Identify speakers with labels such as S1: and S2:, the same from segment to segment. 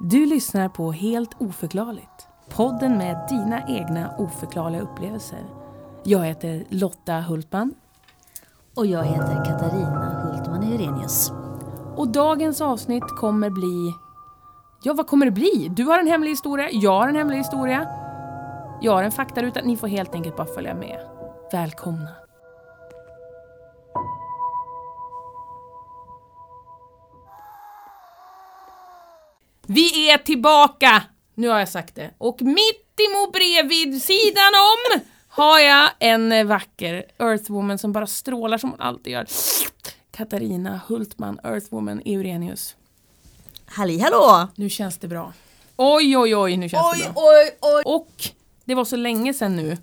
S1: Du lyssnar på Helt oförklarligt. Podden med dina egna oförklarliga upplevelser. Jag heter Lotta Hultman.
S2: Och jag heter Katarina Hultman Hyrenius.
S1: Och dagens avsnitt kommer bli... Ja, vad kommer det bli? Du har en hemlig historia, jag har en hemlig historia. Jag har en faktaruta. Ni får helt enkelt bara följa med. Välkomna. Vi är tillbaka! Nu har jag sagt det. Och mitt emot bredvid sidan om har jag en vacker Earthwoman som bara strålar som hon alltid gör. Katarina Hultman, Earthwoman Eurenius.
S2: Halli hallå!
S1: Nu känns det bra. Oj, oj, oj, nu känns
S2: Alltså,
S1: det bra.
S2: oj, oj!
S1: Och det var så länge sedan nu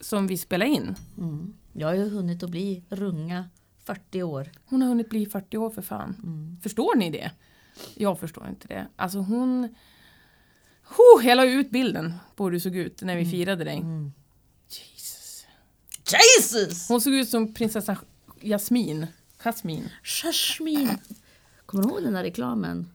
S1: som vi spelade in.
S2: Mm. Jag har ju hunnit att bli runga 40 år.
S1: Hon har hunnit bli 40 år för fan. Förstår ni det? Jag förstår inte det. Alltså hon... Huh, jag la ju ut bilden på hur du såg ut när vi firade dig. Jesus.
S2: Jesus!
S1: Hon såg ut som prinsessan Jasmin. Jasmin.
S2: Jasmine! Kommer du ihåg den där reklamen?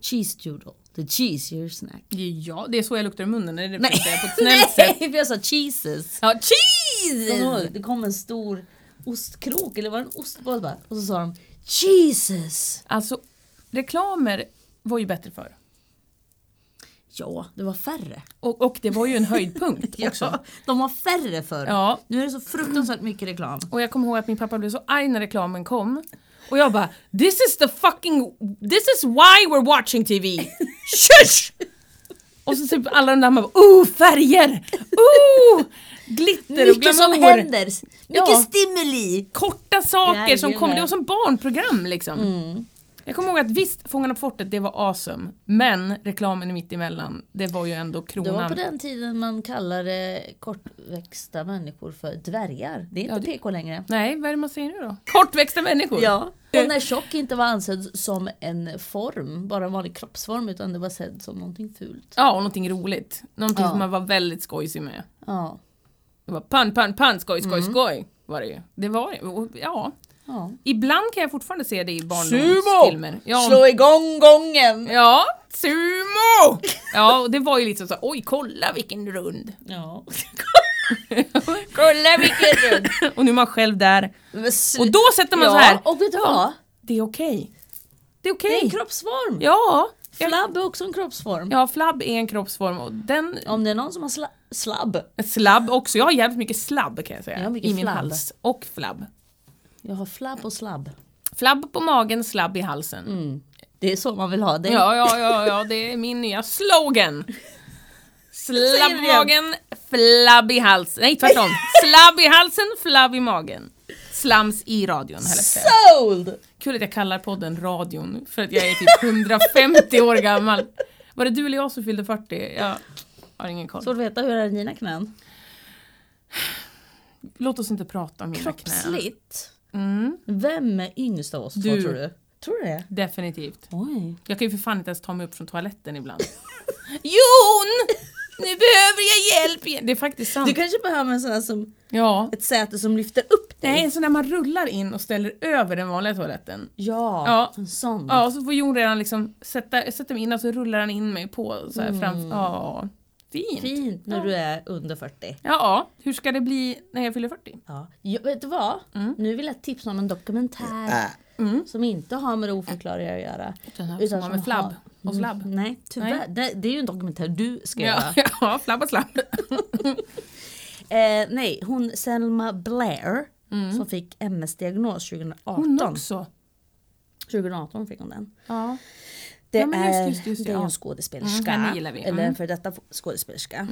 S2: Cheese doodle. The cheese your snack.
S1: Ja, det är så jag luktar i munnen. Är det för att säga på ett
S2: Nej,
S1: snällt sätt?
S2: för jag sa cheeses.
S1: Ja, cheese!
S2: Kommer du ihåg? Det kom en stor ostkrok, eller var det en ostboll bara? Och så sa de Jesus!
S1: Alltså, reklamer var ju bättre förr.
S2: Ja, det var färre.
S1: Och, och det var ju en höjdpunkt också.
S2: de var färre förr.
S1: Ja,
S2: Nu är det så fruktansvärt mycket reklam.
S1: Och jag kommer ihåg att min pappa blev så arg när reklamen kom. Och jag bara “This is the fucking... This is why we're watching TV!” Shush! Och så typ alla de där man bara “Oh, färger! Oh! Glitter och
S2: Mycket som
S1: glamour!”
S2: händer! Mycket
S1: Ja.
S2: stimuli!
S1: Korta saker som
S2: Jajamän. Mm.
S1: kom, det var som barnprogram liksom. Jag kommer ihåg att visst, Fångarna på fortet, det var awesome. Men reklamen mitt emellan, det var ju ändå
S2: Det var på
S1: kronan.
S2: den tiden man kallade kortväxta människor för dvärgar. Det är inte
S1: Ja, det-
S2: PK längre.
S1: Nej, vad är det man säger nu då? Kortväxta människor!
S2: Ja.
S1: Eh.
S2: Och när tjock inte var ansedd som en form, bara en vanlig kroppsform, utan det var sedd som någonting fult.
S1: Ja, och någonting roligt. Någonting
S2: Ja.
S1: som man var väldigt skojsig med.
S2: Ja.
S1: Det var pann, pann, pann, skoj, skoj,
S2: Mm.
S1: skoj. Var det ju. Det var det. Och, ja.
S2: ja.
S1: Ibland kan jag fortfarande se det i barndomsfilmer.
S2: Sumo!
S1: Ja,
S2: Slå igång gången!
S1: ja, sumo! Ja, och det var ju liksom så oj kolla vilken rund.
S2: Ja. Kolla vilken rund!
S1: och nu är man själv där.
S2: Men sl-
S1: Och då sätter man
S2: ja,
S1: så här.
S2: och vet du vad?
S1: det är okej. Det är
S2: Det
S1: okej.
S2: är en kroppsform!
S1: Ja.
S2: Flabb är också en kroppsform.
S1: Ja, flabb är en kroppsform och den...
S2: Om det är någon som har sla- slabb.
S1: Slabb också. Jag har jävligt mycket slabb kan jag säga.
S2: Jag har mycket
S1: I min
S2: flabb.
S1: hals. Och flabb.
S2: Jag har flabb och slabb.
S1: Flabb på magen, slabb i halsen.
S2: Mm. Det är så man vill ha det.
S1: Ja, ja, ja, ja, det är min nya slogan. Slabb i
S2: Säg det igen.
S1: magen, flabb i halsen. Nej tvärtom. Slabb i halsen, flabb i magen. Slams i radion höll jag på att säga.
S2: Sold!
S1: Kul att jag kallar podden radion för att jag är typ 150 år gammal. Var det du eller jag som fyllde 40? Jag har ingen koll.
S2: Svårt att veta hur är dina knän?
S1: Låt oss inte prata om mina knän.
S2: Kroppsligt.
S1: Mm,
S2: Vem är yngst av oss
S1: Du.
S2: två tror du? Tror du det?
S1: definitivt.
S2: Oj.
S1: Jag kan ju för fan inte ens ta mig upp från toaletten ibland. Jon! Nu behöver jag hjälp igen! Det är faktiskt sant.
S2: Du kanske behöver en sån här som
S1: Ja.
S2: ett säte som lyfter upp dig?
S1: Nej, en sån där man rullar in och ställer över den vanliga toaletten.
S2: Ja,
S1: Ja.
S2: en sån.
S1: Ja, och så får Jon redan liksom sätta, jag sätter mig in och så rullar han in mig på så här fram. Ja, Mm. fint.
S2: Fint när
S1: Ja.
S2: du är under 40.
S1: Ja, ja, hur ska det bli när jag fyller 40?
S2: Ja. Jag, vet du vad? Nu vill jag tipsa om en dokumentär som inte har med det oförklarliga att göra.
S1: Typ. Utan som med flabb
S2: Mm. har-
S1: och slabb.
S2: Mm, nej, tyvärr. Det, det är ju en dokumentär du ska göra.
S1: Ja, ja, flabb och slabb.
S2: Eh, nej, hon Selma Blair som fick MS-diagnos 2018.
S1: Mm. Hon också.
S2: 2018 fick hon den.
S1: Ja.
S2: Det
S1: Ja, men just,
S2: är,
S1: just, just,
S2: det är
S1: ja.
S2: en skådespelerska.
S1: Mm, henne gillar vi. Mm.
S2: Eller en för detta skådespelerska.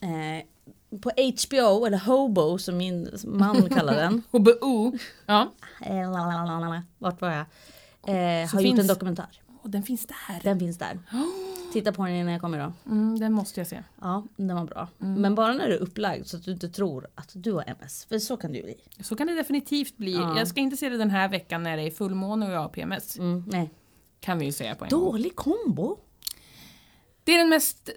S2: Eh, på HBO, eller Hobo som min man kallar den.
S1: HBO. Ja.
S2: Eh, la, la, la, la, la. Vart var jag? Eh,
S1: Så
S2: har gjort
S1: finns-
S2: en dokumentär.
S1: Och den finns där.
S2: Den finns där. Titta på den innan jag kommer då.
S1: Mm, den måste jag se.
S2: Ja, den var bra.
S1: Mm.
S2: Men bara när du är upplagd så att du inte tror att du har MS. För så kan du bli.
S1: Så kan det definitivt bli.
S2: Ja.
S1: Jag ska inte se det den här veckan när det är fullmåne och jag har PMS.
S2: Mm, nej.
S1: Kan vi ju säga på en gång.
S2: Dålig kombo.
S1: Det är den mest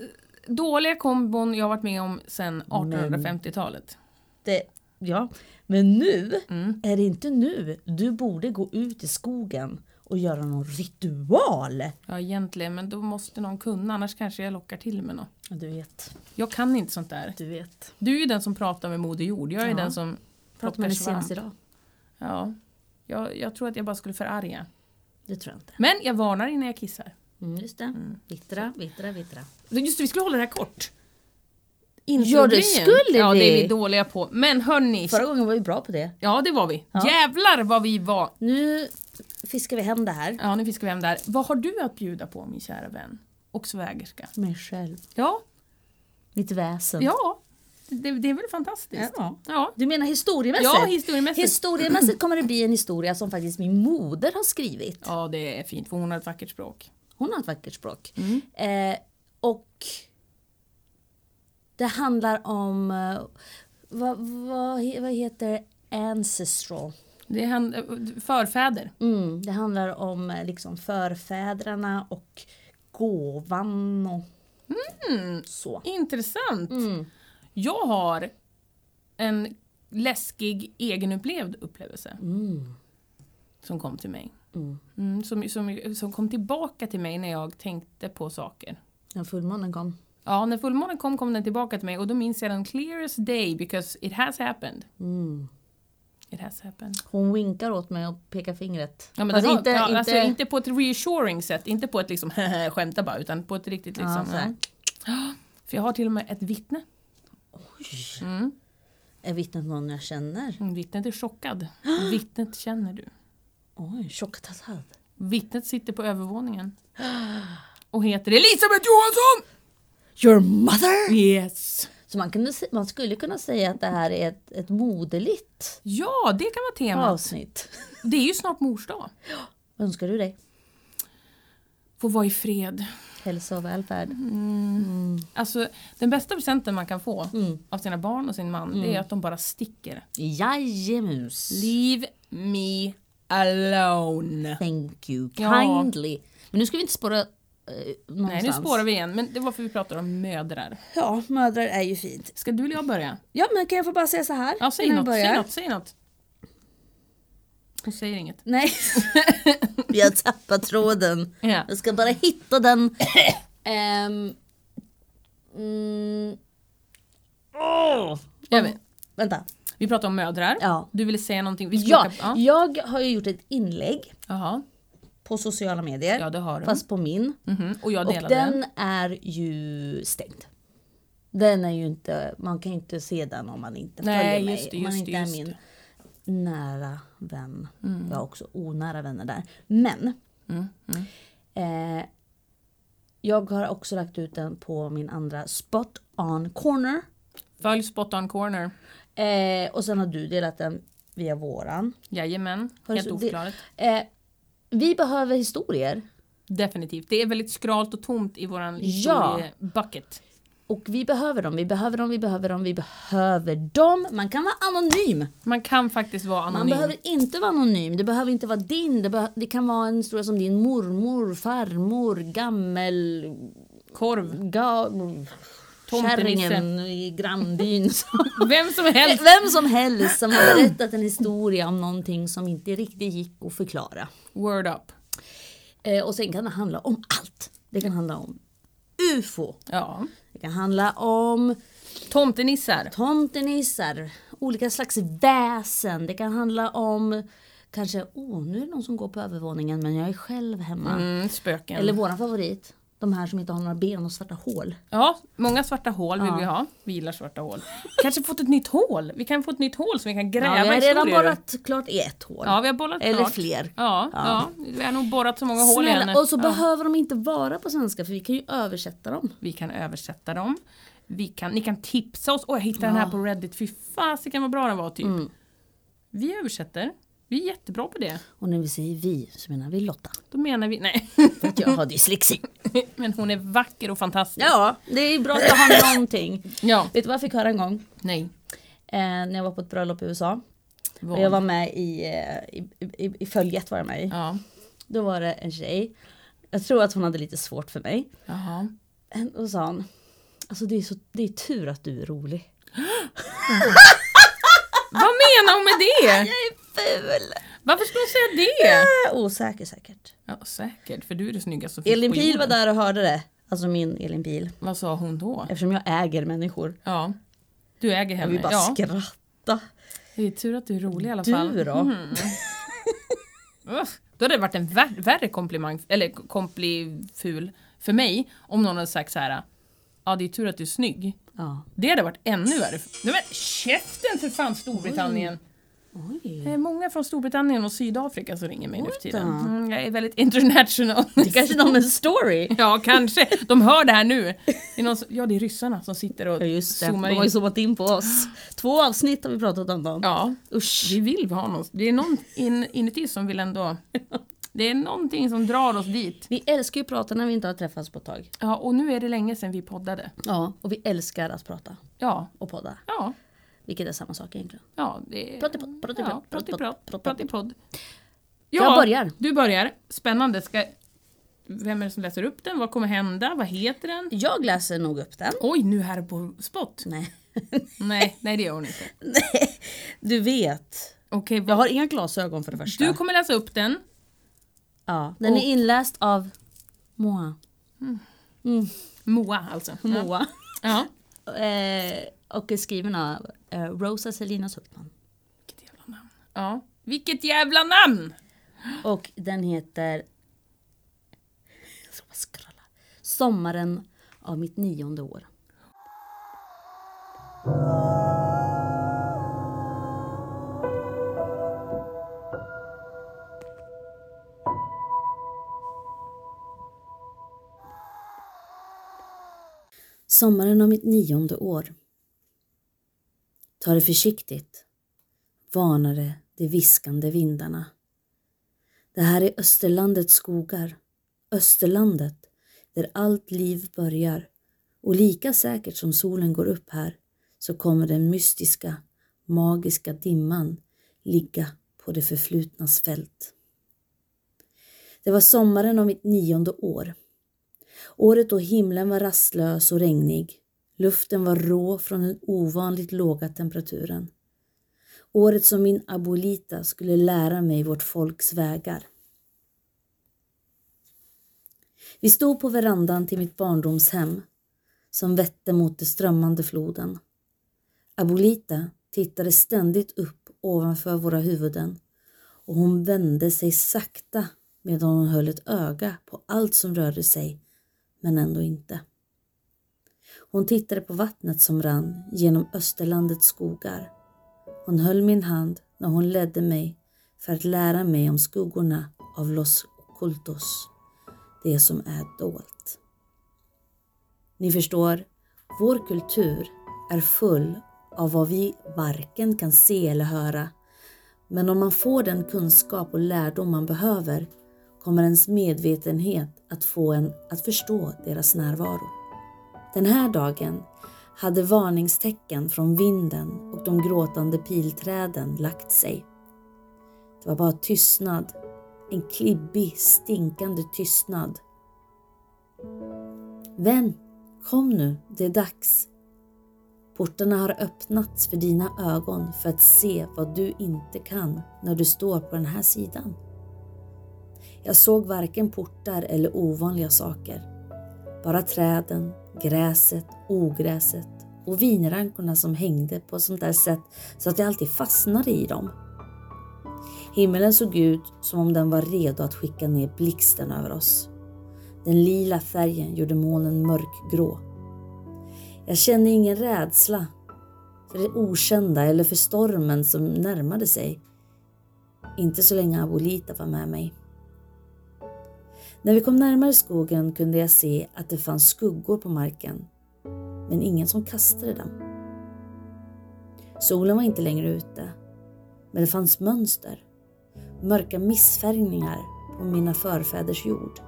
S1: dåliga kombon jag har varit med om sedan 1850-talet.
S2: Det, ja. Men nu är det inte nu du borde gå ut i skogen och göra någon ritual.
S1: Ja egentligen, men då måste någon kunna annars kanske jag lockar till med något.
S2: Du vet,
S1: Jag kan inte sånt där.
S2: du vet.
S1: Du är ju den som pratar med Moder Jord, jag är
S3: Ja.
S1: den som
S3: Pratade med
S1: plockar
S3: dig
S1: svamp.
S3: senast idag?
S1: Ja. Jag, jag tror att jag bara skulle förarga.
S3: Det tror jag inte.
S1: Men jag varnar innan jag kissar.
S3: Mm, just det. Vittra, vittra, vittra.
S1: Just det, vi skulle hålla det här kort.
S2: Ja, det skulle
S1: Ja, det är vi
S2: vi.
S1: dåliga på. Men hörni,
S2: Förra gången var vi bra på det.
S1: ja det var vi.
S2: Ja.
S1: Jävlar vad vi var.
S2: Nu fiskar vi hem det här.
S1: Ja, nu fiskar vi hem där. Vad har du att bjuda på min kära vän? Och svägerska.
S2: Mig själv.
S1: Ja,
S2: Mitt väsen.
S1: ja. Det, det är väl fantastiskt?
S2: Mm. Ja.
S1: Ja,
S2: Du menar historiemässigt?
S1: ja historiemässigt.
S2: Historiemässigt kommer det bli en historia som faktiskt min moder har skrivit.
S1: ja, det är fint för hon har ett vackert språk.
S2: Hon har ett vackert språk.
S1: Mm.
S2: Eh, och det handlar om, eh, vad, vad, he- vad heter det? ancestral?
S1: Det är han, eh, förfäder.
S2: Mm, det handlar om eh, liksom förfäderna och gåvan och
S1: Mm.
S2: så. Mm.
S1: Intressant. Jag har en läskig egenupplevd upplevelse.
S2: Mm.
S1: Som kom till mig. Mm, som, som, som kom tillbaka till mig när jag tänkte på saker.
S3: När fullmånen kom.
S1: Ja, när fullmånen kom kom den tillbaka till mig och då minns jag den clear as day because it has happened.
S2: Mm.
S1: It has happened.
S3: Hon winkar åt mig och pekar fingret.
S1: Ja, men
S3: Fast
S1: den har,
S3: inte,
S1: ja,
S3: inte,
S1: Alltså, inte på ett reassuring sätt, inte på ett liksom skämta bara utan på ett riktigt liksom.
S3: Ja, så här.
S1: ja. För jag har till och med ett vittne.
S2: Är vittnet någon jag känner?
S1: Mm, Vittnet är chockad. Vittnet känner du.
S2: Oj, Tjockatassad.
S1: Vittnet sitter på övervåningen. Och heter Elisabeth Johansson!
S2: Your mother!
S1: Yes!
S2: Så man, kunde, se- man skulle kunna säga att det här är ett, ett moderligt
S1: Ja, det kan vara temat.
S2: avsnitt.
S1: Det är ju snart mors dag.
S2: Vad önskar du dig?
S1: Få vara i fred.
S2: Hälsa och välfärd.
S1: Mm. Alltså, den bästa presenten man kan få
S2: Mm.
S1: av sina barn och sin man, det är att de bara sticker.
S3: Jajemus.
S1: Leave me alone.
S3: Thank you
S1: Ja.
S3: kindly. Men nu ska vi inte spåra eh, någonstans.
S1: Nej, nu spårar vi igen, men det var för vi pratade om mödrar.
S2: Ja, mödrar är ju fint.
S1: Ska du eller jag börja?
S2: Ja, men kan jag få bara säga så här?
S1: Ja, säg
S2: innan vi
S1: något,
S2: börjar?
S1: säg något, säg något. Hon säger inget.
S2: Nej.
S3: Vi har tappat tråden.
S1: Ja.
S3: Jag ska bara hitta den. Ehm, mm,
S1: Jag vet.
S2: Vänta.
S1: Vi pratade om mödrar.
S2: Ja.
S1: Du ville säga någonting. Vi skulle
S2: Ja,
S1: ta- ja.
S2: jag har ju gjort ett inlägg
S1: Jaha.
S2: på sociala medier.
S1: Ja, det har du.
S2: Fast på min.
S1: Mhm, Och jag
S2: Och
S1: delade den.
S2: den är ju stängd. Den är ju inte, man kan ju inte se den om man inte
S1: Nej,
S2: följer mig.
S1: just det,
S2: om man
S1: just
S2: inte
S1: det,
S2: är
S1: just Mm.
S2: min nära vän. Jag har också onära vänner där. Men. Eh, jag har också lagt ut den på min andra spot on corner.
S1: Följ Spot on Corner.
S2: Eh, och sen har du delat den via våran.
S1: Jajamän,
S2: Har du
S1: helt
S2: så- det-
S1: oförklarligt.
S2: Eh, vi behöver historier.
S1: Definitivt. Det är väldigt skralt och tomt i våran
S2: Ja.
S1: historiebucket.
S2: Och vi behöver dem, vi behöver dem, vi behöver dem, vi behöver dem. Man kan vara anonym.
S1: Man kan faktiskt vara
S2: Man
S1: anonym.
S2: behöver inte vara anonym. Det behöver inte vara din. Det, beh- det kan vara en historia som din mormor, farmor, gammel...
S1: Korv,
S2: Ga,
S1: Tomtenisse.
S2: kärringen i grannbyn.
S1: vem som helst.
S2: Vem som helst som har berättat en historia om någonting som inte riktigt gick att förklara.
S1: Word up.
S2: Eh, och sen kan det handla om allt. Det kan handla om UFO.
S1: Ja.
S2: Det kan handla om
S1: Tomtenissar.
S2: tomtenissar, olika slags väsen. Det kan handla om kanske, åh nu är det någon som går på övervåningen men jag är själv hemma.
S1: Mm, spöken.
S2: Eller våran favorit, de här som inte har några ben och svarta hål.
S1: Ja, många svarta hål vill vi ha. Vi gillar svarta hål. Kanske fått ett nytt hål. Vi kan få ett nytt hål som vi kan
S2: Ja,
S1: gräva
S2: vi har
S1: historier
S2: redan
S1: ur.
S2: borrat klart i ett hål.
S1: Ja, vi har bollat
S2: Eller
S1: klart.
S2: fler.
S1: Ja, ja. vi har nog borrat så många hål i henne.
S2: Snälla, och så behöver de inte vara på svenska för vi kan ju översätta dem.
S1: Vi kan översätta dem. Vi kan, ni kan tipsa oss. Åh, jag hittade den här på Reddit. Fy fasiken vad bra den var typ.
S2: Mm.
S1: Vi översätter. Vi är jättebra på det.
S2: Och när vi säger vi så menar vi Lotta.
S1: Då menar vi, nej.
S2: För att jag har dyslexi.
S1: Men hon är vacker och fantastisk.
S2: Ja, det är bra att jag har någonting.
S1: Ja.
S2: Vet du vad jag fick höra en gång?
S1: Nej.
S2: Eh, när jag var på ett bröllop i USA.
S1: Vad?
S2: Och jag var med i, eh, i, i, i följet var jag med i.
S1: Ja.
S2: Då var det en tjej. Jag tror att hon hade lite svårt för mig.
S1: Jaha.
S2: Och då sa hon. Alltså det är, så, det är tur att du är rolig.
S1: Vad menar hon med det?
S2: Jag är ful!
S1: Varför skulle hon säga det?
S2: Äh, Osäker säkert.
S1: Ja, säkert, för du är det snyggaste som finns
S2: Elin
S1: på
S2: Pil var
S1: jorden.
S2: där och hörde det. Alltså min Elin Pil.
S1: Vad sa hon då?
S2: Eftersom jag äger människor.
S1: Ja. Du äger
S2: Jag
S1: henne.
S2: vill bara
S1: ja.
S2: skratta.
S1: Det är tur att du är rolig i alla fall. Mhm.
S2: Du då?
S1: Uff. Då hade det varit en vär- värre komplimang, eller kompliful för mig om någon hade sagt så här. Ja det är tur att du är snygg.
S2: Ja.
S1: Det hade varit ännu värre. Nej men käften för fan Storbritannien! Det
S2: Oj.
S1: är många från Storbritannien och Sydafrika som ringer mig nu för tiden.
S2: Vänta.
S1: Mm, jag är väldigt international.
S2: Det är kanske är någon med story.
S1: Ja kanske, de hör det här nu. Det är någon som, ja det är ryssarna som sitter och
S2: Ja just det, de
S1: zoomar
S2: har ju
S1: in.
S2: zoomat in på oss. Två avsnitt har vi pratat om dem.
S1: Ja,
S2: Usch.
S1: vi vill ha någon. Det är någon in, inuti som vill ändå... Det är någonting som drar oss dit.
S2: Vi älskar ju att prata när vi inte har träffats på ett tag.
S1: Ja, och nu är det länge sedan vi poddade.
S2: Ja. Och vi älskar att prata
S1: Ja,
S2: och podda.
S1: ja,
S2: Vilket är samma sak egentligen.
S1: ja. det-
S2: Prattipodd, prattipodd,
S1: Ja, prattipodd,
S2: prattipodd, prattipodd.
S1: prattipodd.
S2: Jag börjar.
S1: Du börjar. Spännande. Ska... Vem är det som läser upp den? Vad kommer hända? Vad heter den?
S2: Jag läser nog upp den.
S1: Oj, nu här på spot.
S2: Nej.
S1: Nej, nej det gör hon inte.
S2: Nej. Du vet.
S1: Okej,
S2: Jag
S1: vad...
S2: har inga glasögon för det första.
S1: du kommer läsa upp den.
S2: ja. Den är
S1: Och-
S2: inläst av Moa.
S1: Moa alltså. Ja.
S2: Moa.
S1: ja.
S2: Eh, och är skriven av eh, Rosa Selina Hultman.
S1: Vilket jävla namn. Ja. Vilket jävla namn!
S2: Och den heter... Jag ska bara scrolla. Sommaren av mitt nionde år. Sommaren av mitt nionde år. Ta det försiktigt, varnade de viskande vindarna. Det här är Österlandets skogar. Österlandet, där allt liv börjar. Och lika säkert som solen går upp här så kommer den mystiska, magiska dimman ligga på det förflutnas fält. Det var sommaren av mitt nionde år. Året då himlen var rastlös och regnig. Luften var rå från den ovanligt låga temperaturen. Året som min abolita skulle lära mig vårt folks vägar. Vi stod på verandan till mitt barndomshem som vette mot den strömmande floden. Abolita tittade ständigt upp ovanför våra huvuden och hon vände sig sakta medan hon höll ett öga på allt som rörde sig, men ändå inte. Hon tittade på vattnet som rann genom Österlandets skogar hon höll min hand när hon ledde mig för att lära mig om skuggorna av Los Ocultos, det som är dolt. Ni förstår, vår kultur är full av vad vi varken kan se eller höra. Men om man får den kunskap och lärdom man behöver kommer ens medvetenhet att få en att förstå deras närvaro. Den här dagen hade varningstecken från vinden och de gråtande pilträden lagt sig. Det var bara tystnad. En klibbig, stinkande tystnad. Vän, kom nu, det är dags. Portarna har öppnats för dina ögon för att se vad du inte kan när du står på den här sidan. Jag såg varken portar eller ovanliga saker. Bara träden, gräset, ogräset och vinrankorna som hängde på sånt där sätt så att jag alltid fastnade i dem. Himlen såg ut som om den var redo att skicka ner blixten över oss. Den lila färgen gjorde molnen mörkgrå. Jag kände ingen rädsla för det okända eller för stormen som närmade sig. Inte så länge Abolita var med mig. När vi kom närmare skogen kunde jag se att det fanns skuggor på marken, men ingen som kastade dem. Solen var inte längre ute, men det fanns mönster. Mörka missfärgningar på mina förfäders jord.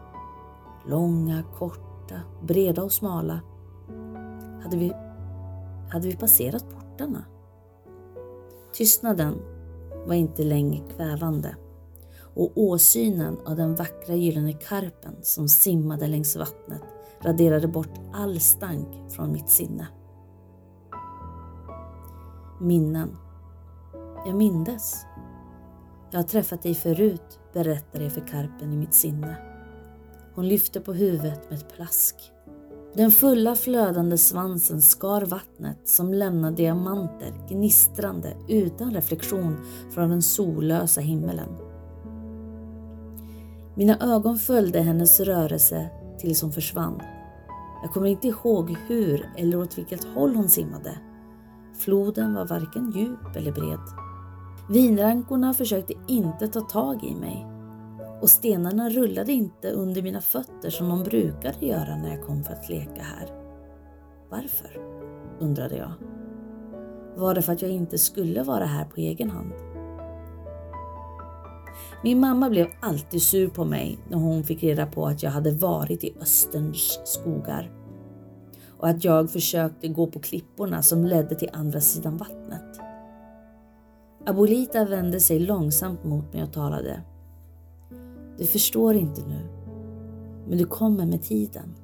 S2: Långa, korta, breda och smala. Hade vi, hade vi passerat portarna? Tystnaden var inte längre kvävande och åsynen av den vackra gyllene karpen som simmade längs vattnet raderade bort all stank från mitt sinne. Minnen. Jag mindes. Jag har träffat dig förut, berättar jag för karpen i mitt sinne. Hon lyfte på huvudet med ett plask. Den fulla flödande svansen skar vattnet som lämnade diamanter gnistrande utan reflektion från den sollösa himmelen. Mina ögon följde hennes rörelse tills hon försvann. Jag kommer inte ihåg hur eller åt vilket håll hon simmade. Floden var varken djup eller bred. Vinrankorna försökte inte ta tag i mig och stenarna rullade inte under mina fötter som de brukade göra när jag kom för att leka här. Varför? undrade jag. Var det för att jag inte skulle vara här på egen hand? Min mamma blev alltid sur på mig när hon fick reda på att jag hade varit i Österns skogar och att jag försökte gå på klipporna som ledde till andra sidan vattnet. Abolita vände sig långsamt mot mig och talade. Du förstår inte nu, men du kommer med tiden.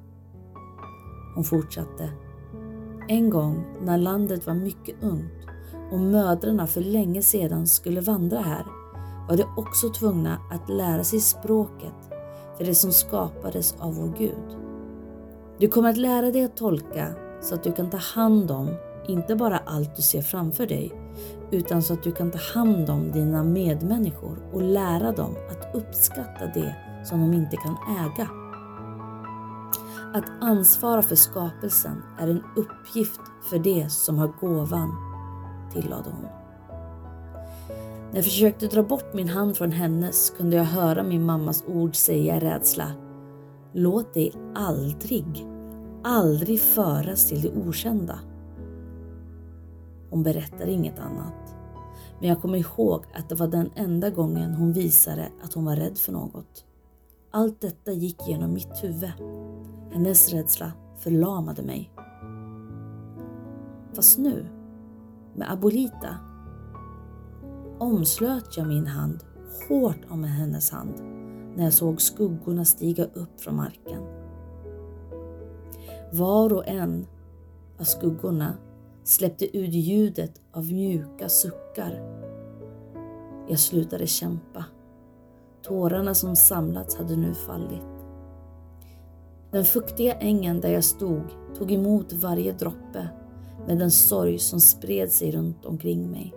S2: Hon fortsatte. En gång när landet var mycket ungt och mödrarna för länge sedan skulle vandra här var de också tvungna att lära sig språket för det som skapades av vår Gud. Du kommer att lära dig att tolka så att du kan ta hand om inte bara allt du ser framför dig utan så att du kan ta hand om dina medmänniskor och lära dem att uppskatta det som de inte kan äga. Att ansvara för skapelsen är en uppgift för det som har gåvan, tillade hon. När jag försökte dra bort min hand från hennes kunde jag höra min mammas ord säga i rädsla. Låt dig aldrig, aldrig föras till det okända. Hon berättade inget annat. Men jag kommer ihåg att det var den enda gången hon visade att hon var rädd för något. Allt detta gick genom mitt huvud. Hennes rädsla förlamade mig. Fast nu, med Abolita, omslöt jag min hand hårt om hennes hand när jag såg skuggorna stiga upp från marken. Var och en av skuggorna släppte ut ljudet av mjuka suckar. Jag slutade kämpa. Tårarna som samlats hade nu fallit. Den fuktiga ängen där jag stod tog emot varje droppe med den sorg som spred sig runt omkring mig.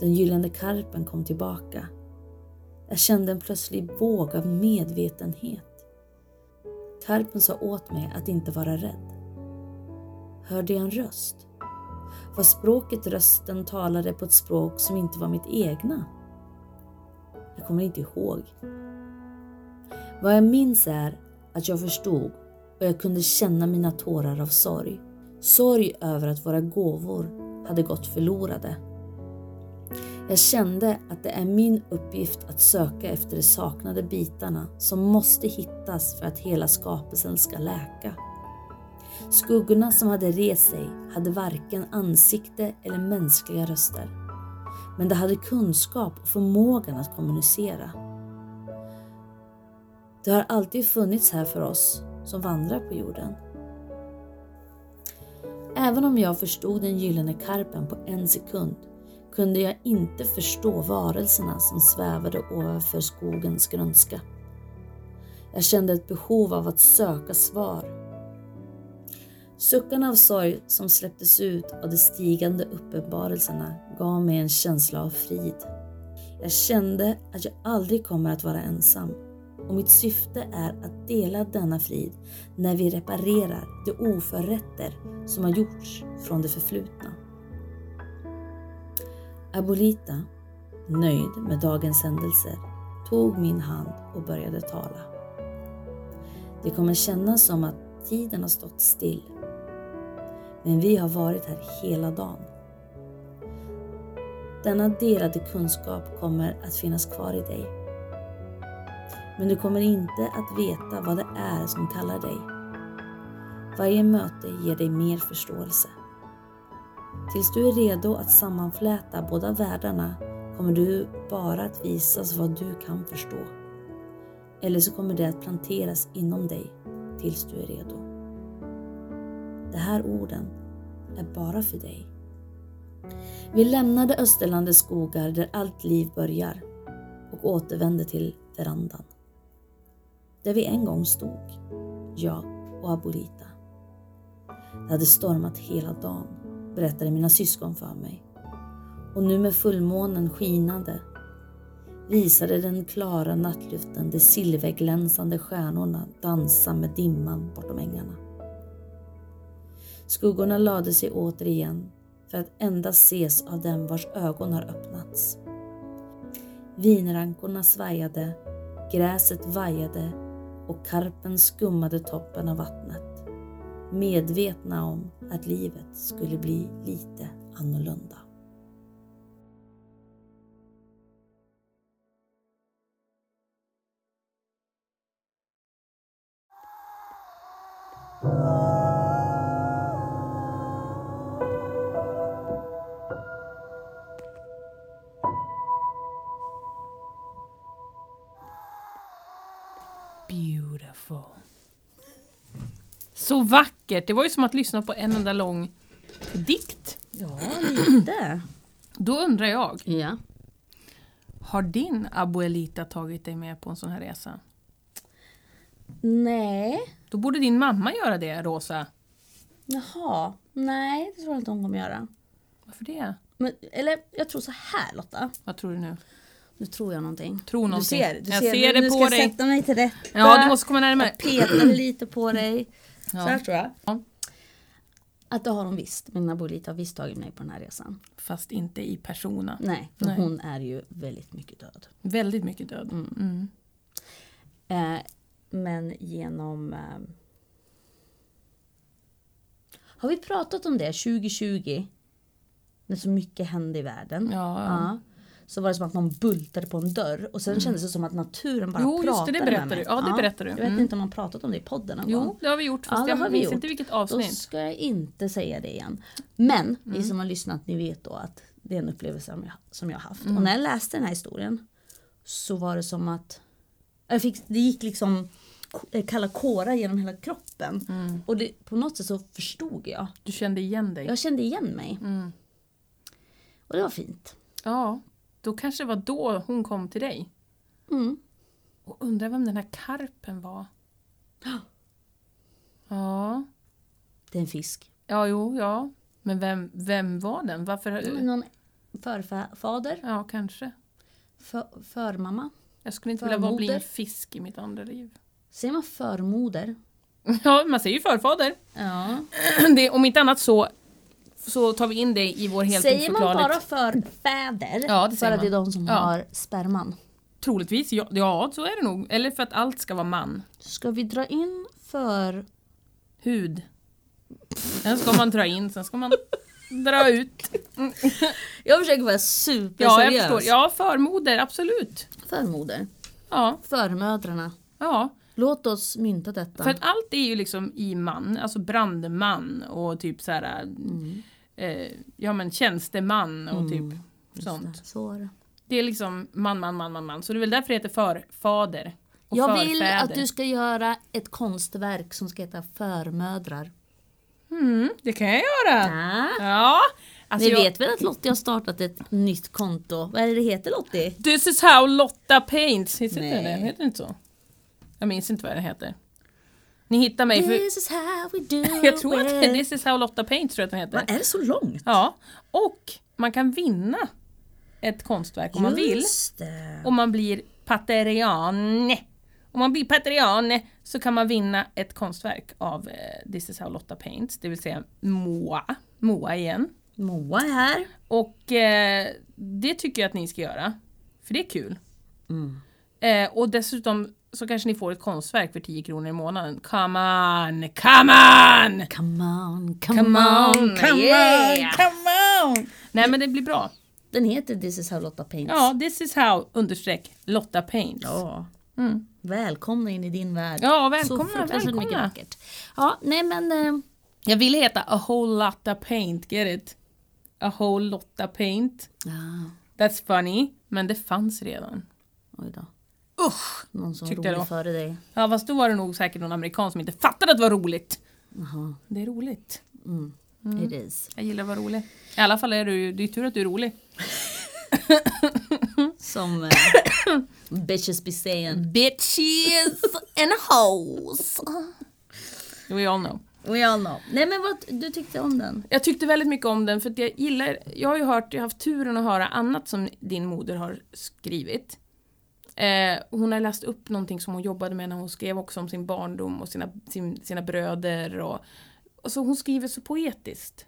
S2: Den gyllene karpen kom tillbaka. Jag kände en plötslig våg av medvetenhet. Karpen sa åt mig att inte vara rädd. Hörde jag en röst? Var språket rösten talade på ett språk som inte var mitt egna? Jag kommer inte ihåg. Vad jag minns är att jag förstod och jag kunde känna mina tårar av sorg. Sorg över att våra gåvor hade gått förlorade. Jag kände att det är min uppgift att söka efter de saknade bitarna som måste hittas för att hela skapelsen ska läka. Skuggorna som hade rest sig hade varken ansikte eller mänskliga röster. Men de hade kunskap och förmågan att kommunicera. Det har alltid funnits här för oss som vandrar på jorden. Även om jag förstod den gyllene karpen på en sekund kunde jag inte förstå varelserna som svävade ovanför skogens grönska. Jag kände ett behov av att söka svar Suckarna av sorg som släpptes ut av de stigande uppenbarelserna gav mig en känsla av frid. Jag kände att jag aldrig kommer att vara ensam och mitt syfte är att dela denna frid när vi reparerar de oförrätter som har gjorts från det förflutna. Abolita, nöjd med dagens händelser, tog min hand och började tala. Det kommer kännas som att tiden har stått still men vi har varit här hela dagen. Denna delade kunskap kommer att finnas kvar i dig. Men du kommer inte att veta vad det är som kallar dig. Varje möte ger dig mer förståelse. Tills du är redo att sammanfläta båda världarna kommer du bara att visas vad du kan förstå. Eller så kommer det att planteras inom dig tills du är redo. De här orden är bara för dig. Vi lämnade Österlandets skogar där allt liv börjar och återvände till verandan. Där vi en gång stod, jag och Abolita. Det hade stormat hela dagen, berättade mina syskon för mig. Och nu med fullmånen skinande visade den klara nattluften de silverglänsande stjärnorna dansa med dimman bortom ängarna. Skuggorna lade sig återigen för att endast ses av dem vars ögon har öppnats. Vinrankorna svajade, gräset vajade och karpen skummade toppen av vattnet. Medvetna om att livet skulle bli lite annorlunda.
S1: Beautiful. Så vackert! Det var ju som att lyssna på en enda lång dikt.
S3: Ja, lite.
S1: Då undrar jag,
S4: Ja.
S1: har din abuelita tagit dig med på en sån här resa?
S3: Nej.
S1: Då borde din mamma göra det, Rosa.
S3: Jaha. Nej, det tror jag inte hon kommer göra.
S1: Varför det?
S3: Men, eller jag tror så här Lotta.
S1: Vad tror du nu?
S3: Nu tror jag någonting.
S1: Tror
S3: Du
S1: någonting.
S3: ser, du
S1: jag
S3: ser,
S1: ser,
S3: nu,
S1: det
S3: nu
S1: på
S3: ska jag
S1: dig.
S3: sätta mig till rätta.
S1: Ja, du måste komma närmare.
S3: Peta lite på dig. Så här
S1: Ja.
S3: tror jag.
S1: Ja.
S3: Att det har hon visst. Min abuelita har visst tagit mig på den här resan.
S1: Fast inte i persona.
S3: Nej, för
S1: Nej.
S3: hon är ju väldigt mycket död.
S1: Väldigt mycket död. Mm.
S3: Eh, men genom... Eh, har vi pratat om det 2020? När så mycket hände i världen.
S1: Ja, ja.
S3: Ja. Så var det som att någon bultade på en dörr och sen kändes det som att naturen bara
S1: Jo,
S3: pratade
S1: just det, det berättar
S3: med mig.
S1: du. Ja, det berättar du.
S3: Jag vet
S1: Mm.
S3: inte om man pratat om det i podden någon gång.
S1: Jo, det har vi gjort. Fast
S3: Ja, det har
S1: jag
S3: vi
S1: minns
S3: gjort.
S1: inte vilket
S3: Då
S1: avsnitt. Mm.
S3: ska jag inte säga det igen. Men ni som har lyssnat ni vet då att det är en upplevelse som jag, som jag haft.
S1: Mm.
S3: Och när jag läste den här historien så var det som att jag fick, det gick liksom eh, kalla kårar genom hela kroppen.
S1: Mm.
S3: Och det, på något sätt så förstod jag.
S1: Du kände igen dig. Mm.
S3: Jag kände igen mig. Och det var fint.
S1: Ja, då kanske det var då hon kom till dig.
S3: Mm.
S1: Och undrar vem den här karpen var. Ja,
S3: Det är en fisk.
S1: ja jo, ja. Men vem, vem var den? Varför?
S3: Någon förfader,
S1: Ja, kanske.
S3: för, förmamma.
S1: Jag skulle inte vilja vara bli en
S3: Förmoder.
S1: fisk i mitt andra liv.
S3: Säger man förmoder?
S1: Ja, man säger ju förfader.
S3: Ja.
S1: Det, om inte annat så, så tar vi in det i vår helt
S3: Säger man
S1: oförklarligt-
S3: bara förfäder?
S1: Ja, det
S3: för
S1: säger
S3: att det är
S1: man.
S3: de som
S1: Ja.
S3: har sperman.
S1: Troligtvis, ja, ja så är det nog. Eller för att allt ska vara man.
S3: Ska vi dra in för...
S1: Hud. Sen ska man dra in, sen ska man dra ut.
S3: Jag försöker vara
S1: Ja,
S3: superseriös.
S1: jag förstår. Ja, förmoder, absolut.
S3: Förmoder.
S1: Ja,
S3: Förmödrarna.
S1: ja.
S3: Låt oss mynta detta.
S1: För att allt är ju liksom i man, alltså brandman och typ så här,
S3: Mm.
S1: eh, ja men tjänsteman och typ sånt.
S3: Så är Mm, det.
S1: Det är liksom man, man, man, man, man. Så det är väl därför det heter förfader. Och
S3: Jag vill
S1: förfäder.
S3: att du ska göra ett konstverk som ska heta Förmödrar.
S1: Mm, det kan jag göra!
S3: Ah.
S1: Ja! Alltså
S3: Ni
S1: jag,
S3: vet väl att Lottie har startat ett nytt konto? Vad är det det heter Lottie?
S1: This is how Lotta paints, heter inte
S3: Nej.
S1: det? Heter det inte så? Jag minns inte vad det heter. Ni hittar mig för...
S3: This is how we do
S1: Jag tror att det är
S3: it.
S1: This is how Lotta paints tror jag att den heter.
S3: Vad är det så långt?
S1: Ja, och man kan vinna ett konstverk om man vill.
S3: Just det.
S1: Om man blir Pateriane. Om man blir Pateriane så kan man vinna ett konstverk av eh, This is how Lotta Paints, det vill säga Moa. Moa igen.
S3: Moa är här.
S1: Och eh, det tycker jag att ni ska göra. För det är kul.
S3: Mm.
S1: Eh, och dessutom så kanske ni får ett konstverk för 10 kronor i månaden. Come on, come on!
S3: Come on, come,
S1: Come on,
S3: on,
S1: come
S3: yeah.
S1: on, come on! Nej men det blir bra.
S3: Den heter This is how Lotta paints.
S1: Ja, this is how understreck Lotta Paints.
S3: Ja.
S1: Mm.
S3: Välkomna in i din värld.
S1: Ja, välkomna,
S3: Så fruktansvärt
S1: välkomna.
S3: mycket vackert. Ja, nej men eh,
S1: Jag ville heta A whole Lotta Paint, get it? A whole Lotta Paint.
S3: ja,
S1: That's funny, men det fanns redan.
S3: oj då.
S1: Usch!
S3: Någon som var
S1: Tyckte jag
S3: rolig
S1: då.
S3: före dig.
S1: Ja fast då var det nog säkert någon amerikan som inte fattade att det var roligt.
S3: Jaha, mm.
S1: Det är roligt. Mm.
S3: it is.
S1: Jag gillar att vara rolig. I alla fall är du, det är tur att du är rolig.
S3: Som eh, Bitches be saying.
S1: Bitches and hoes. We all know.
S3: We all know. Nej men vad du tyckte om den?
S1: Jag tyckte väldigt mycket om den för att jag gillar, jag har ju hört, jag har haft turen att höra annat som din moder har skrivit. Eh, hon har läst upp någonting som hon jobbade med när hon skrev också om sin barndom och sina, sin, sina bröder och, och så hon skriver så poetiskt.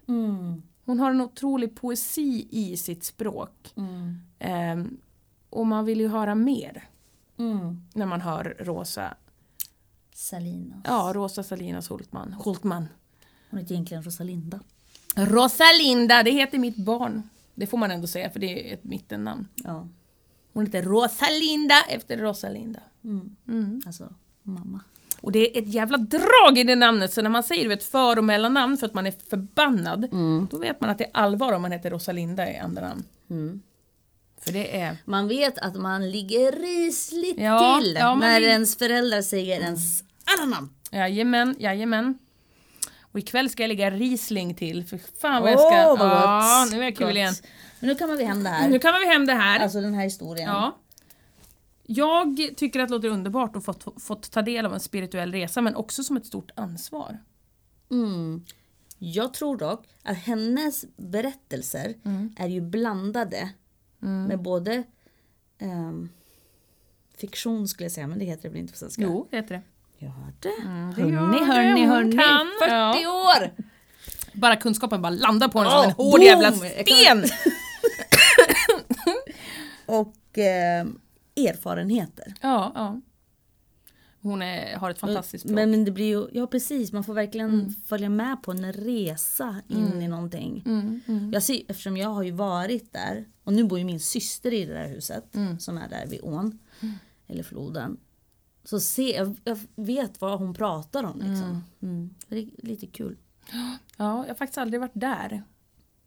S1: Hon har en otrolig poesi i sitt språk. Ehm, och man vill ju höra mer när man hör Rosa,
S3: Salinas.
S1: ja Rosa Salinas Holtman. Holtman.
S3: Hon heter egentligen Rosalinda.
S1: Rosalinda, det heter mitt barn. Det får man ändå säga för det är ett mittennamn.
S3: Ja,
S1: Hon heter Rosalinda efter Rosalinda. Mm.
S3: alltså mamma.
S1: Och det är ett jävla drag i det namnet så när man säger du vet, för och mellannamn för att man är förbannad
S3: Mm.
S1: då vet man att det är allvar om man heter Rosalinda i andra namn.
S3: Mm.
S1: För det är...
S3: Man vet att man ligger risligt
S1: Ja,
S3: till
S1: ja, man
S3: när
S1: vill-
S3: ens föräldrar säger ens alla namn.
S1: Jajamän, jajamän. Och ikväll ska jag lägga Riesling till för fan vad
S3: Åh,
S1: jag ska...
S3: vad gott!
S1: ja, nu är jag kul
S3: Gott.
S1: igen.
S3: Men nu kan vi hem det
S1: Nu
S3: här.
S1: kan vi hem det här.
S3: Alltså den här historien.
S1: Ja. Jag tycker att det låter underbart att fått, fått ta del av en spirituell resa men också som ett stort ansvar.
S3: Mm. Jag tror dock att hennes berättelser
S1: Mm.
S3: är ju blandade med både ehm, fiktion skulle jag säga, men det heter det väl inte på svenska?
S1: Jo, det heter det.
S3: Jag hörde.
S1: det gör
S3: hörni,
S1: det.
S3: hörni,
S1: Hon
S3: hörni.
S1: kan.
S3: 40 år!
S1: Bara kunskapen bara landar på en
S3: Ja,
S1: som en hård
S3: boom!
S1: jävla
S3: Jag kan-
S1: sten!
S3: Och ehm, erfarenheter.
S1: Ja, Mm, ja. Hon är, har ett fantastiskt språk.
S3: Men, men det blir ju, ja precis, man får verkligen följa med på en resa in i någonting. Jag ser, eftersom jag har ju varit där och nu bor ju min syster i det där huset som är där vid ån. Eller floden. Så se, jag, jag vet vad hon pratar om liksom. Mm. Det är lite kul.
S1: Ja, jag har faktiskt aldrig varit där.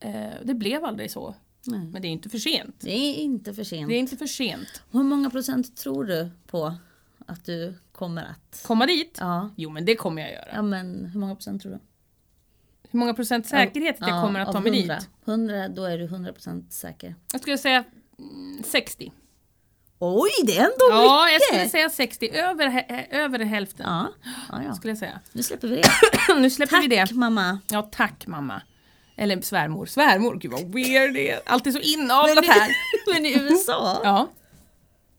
S1: Eh, det blev aldrig så.
S3: Nej.
S1: Men det är inte för sent.
S3: Det är inte för sent.
S1: Det är inte för sent.
S3: Hur många procent tror du på att du kommer att...
S1: Komma dit?
S3: Ja.
S1: Jo men det kommer jag göra.
S3: Ja men hur många procent tror du?
S1: Hur många procent säkerhet att jag kommer att ta mig dit?
S3: 100, då är du 100% säker.
S1: Jag skulle säga mm, 60.
S3: Oj, det är ändå
S1: Ja, jag
S3: mycket!
S1: skulle säga 60. Över, hä- hä- över hälften
S3: Ja, ja, ja.
S1: skulle jag säga.
S3: Nu släpper vi det.
S1: nu släpper vi det.
S3: Tack mamma!
S1: Ja, tack mamma. Eller svärmor. Svärmor, gud vad weird det är. Alltid så inavlat här.
S3: Men i USA,
S1: Ja.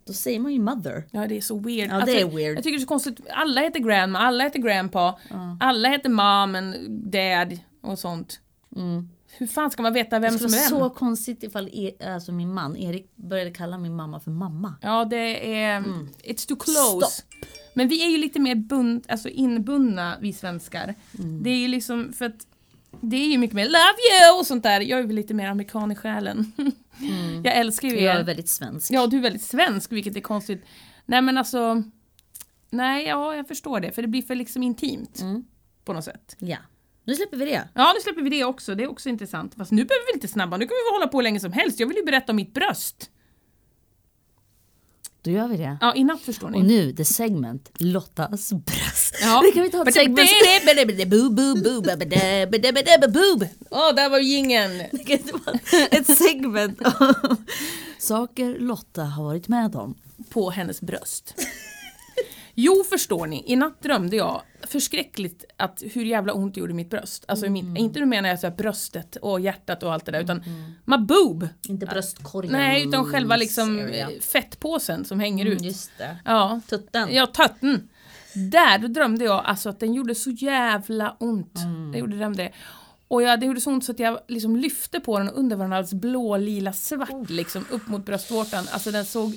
S3: då säger man ju mother.
S1: ja, det är så weird. Alltså,
S3: Ja, det är weird.
S1: Jag tycker det är så konstigt. Alla heter grandma, alla heter grandpa, alla heter mom and dad och sånt. Hur fan ska man veta vem
S3: Mm. Det
S1: som är
S3: skulle
S1: vem?
S3: vara så konstigt ifall e- alltså min man Erik började kalla min mamma för mamma.
S1: Ja, det är... um, It's too close.
S3: Mm. Stopp.
S1: Men vi är ju lite mer bund, alltså inbundna, vi svenskar.
S3: Mm.
S1: Det är ju liksom för att det är ju mycket mer love you och sånt där. Jag är väl lite mer amerikan i själen. Jag älskar ju
S3: För Mm. jag är
S1: er.
S3: väldigt svensk.
S1: Ja, du är väldigt svensk vilket är konstigt. Nej men alltså, nej ja jag förstår det för det blir för liksom intimt.
S3: Mm.
S1: På något sätt.
S3: Ja. Nu släpper vi det.
S1: Ja nu släpper vi det också, det är också intressant. Fast nu behöver vi inte snabba, nu kan vi hålla på hur länge som helst. Jag vill ju berätta om mitt bröst.
S3: Då gör vi det.
S1: Ja i natt förstår ni.
S3: Och nu, the segment, Lottas bröst.
S1: Ja.
S3: Det kan vi ta ett segment. Boob, boob, boob, boob, boob.
S1: Åh där var jingeln!
S3: Det kan inte vara ett segment av saker Lotta har varit med om.
S1: på hennes bröst. Jo, förstår ni, i natt drömde jag förskräckligt att hur jävla ont det gjorde i mitt bröst. Alltså i mitt, inte nu menar jag så här bröstet och hjärtat och allt det där utan my boob.
S3: Inte bröstkorgen.
S1: Nej, utan
S3: Mm,
S1: själva liksom eh, fettpåsen som hänger ut.
S3: Just det.
S1: Ja,
S3: Tutten.
S1: ja tötten. Där då drömde jag alltså att den gjorde så jävla ont.
S3: Mm.
S1: Det gjorde den det. Och jag, det gjorde så ont så att jag liksom lyfte på den och under var den alldeles blå, lila, svart liksom upp mot bröstvårtan. Alltså den såg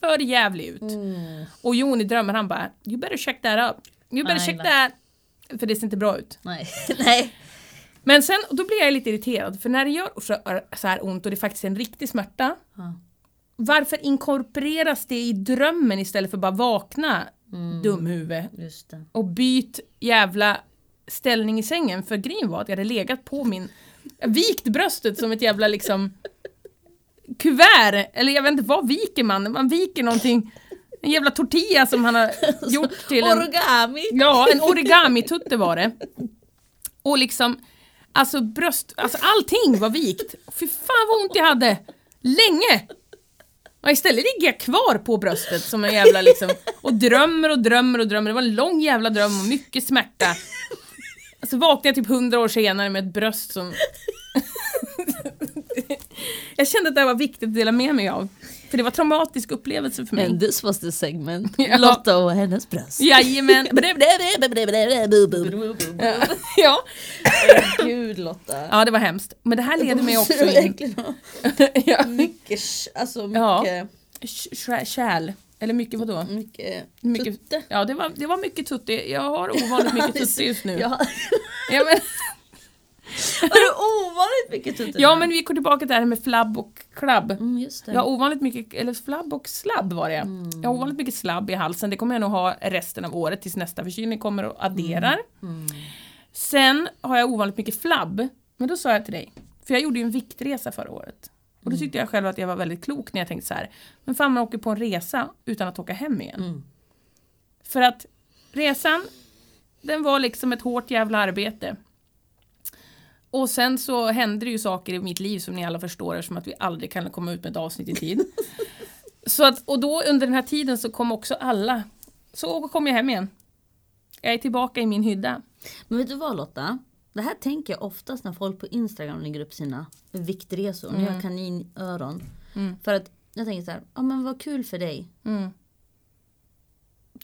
S1: för jävlig ut. Och Jon i drömmen han bara “You better check that up, you better
S3: Mm. Nej,
S1: check
S3: va.
S1: that” För det ser inte bra ut.
S3: Nej. Nej.
S1: Men sen, och då blir jag lite irriterad för när det gör så, så här ont och det faktiskt är en riktig smärta
S3: Ja.
S1: Varför inkorporeras det i drömmen istället för bara vakna dumhuvud
S3: Just det.
S1: och byt jävla ställning i sängen för grejen var att jag hade legat på min jag vikt bröstet som ett jävla liksom kuvert eller jag vet inte vad viker man? Man viker någonting en jävla tortilla som han har gjort till en
S3: Origami.
S1: Ja, en origami-tutte var det. Och liksom, alltså bröst, alltså allting var vikt. Fy fan vad ont jag hade! Länge! Ja, istället ligger jag kvar på bröstet som en jävla liksom och drömmer och drömmer och drömmer. Det var en lång jävla dröm och mycket smärta. Alltså vaknade jag typ hundra år senare med ett bröst som... jag kände att det här var viktigt att dela med mig av. För det var en traumatisk upplevelse för mig.
S2: And this was the segment.
S1: Ja.
S2: Lotta och hennes bröst.
S1: Jajamän. Ja.
S2: Gud Lotta.
S1: ja, det var hemskt. Men det här leder mig också in...
S3: Verkligen.
S1: ja.
S3: Mycket, sh- alltså
S1: Ja.
S3: mycket,
S1: Sh- Kärl. Eller mycket vadå?
S3: mycket,
S1: Mycket,
S3: tutte.
S1: Ja, det var, det var mycket tutti. Jag har ovanligt mycket tutti just nu.
S3: Ja.
S1: Ja, men,
S3: Var det ovanligt mycket tutte?
S1: ja, men vi går tillbaka till det här med flabb och klabb.
S3: Mm, just det.
S1: Jag har ovanligt mycket, eller flabb och slabb var det. Jag har ovanligt mycket slabb i halsen. Det kommer jag nog ha resten av året tills nästa förkylning kommer och adderar.
S3: Mm.
S1: Sen har jag ovanligt mycket flabb. Men då sa jag till dig, för jag gjorde ju en viktresa förra året. Och
S3: Mm.
S1: då tyckte jag själv att jag var väldigt klok när jag tänkte så här. men fan man åker på en resa utan att åka hem igen.
S3: Mm.
S1: För att resan, den var liksom ett hårt jävla arbete. Och sen så hände det ju saker i mitt liv som ni alla förstår eftersom att vi aldrig kan komma ut med ett avsnitt i tid. så att, och då under den här tiden så kom också alla. Så kom jag hem igen. Jag är tillbaka i min hydda.
S3: Men vet du vad Lotta? Det här tänker jag oftast när folk på Instagram lägger upp sina viktresor. Mm. Jag har kaninöron. För att jag tänker så här, ja men vad kul för dig.
S1: Mm.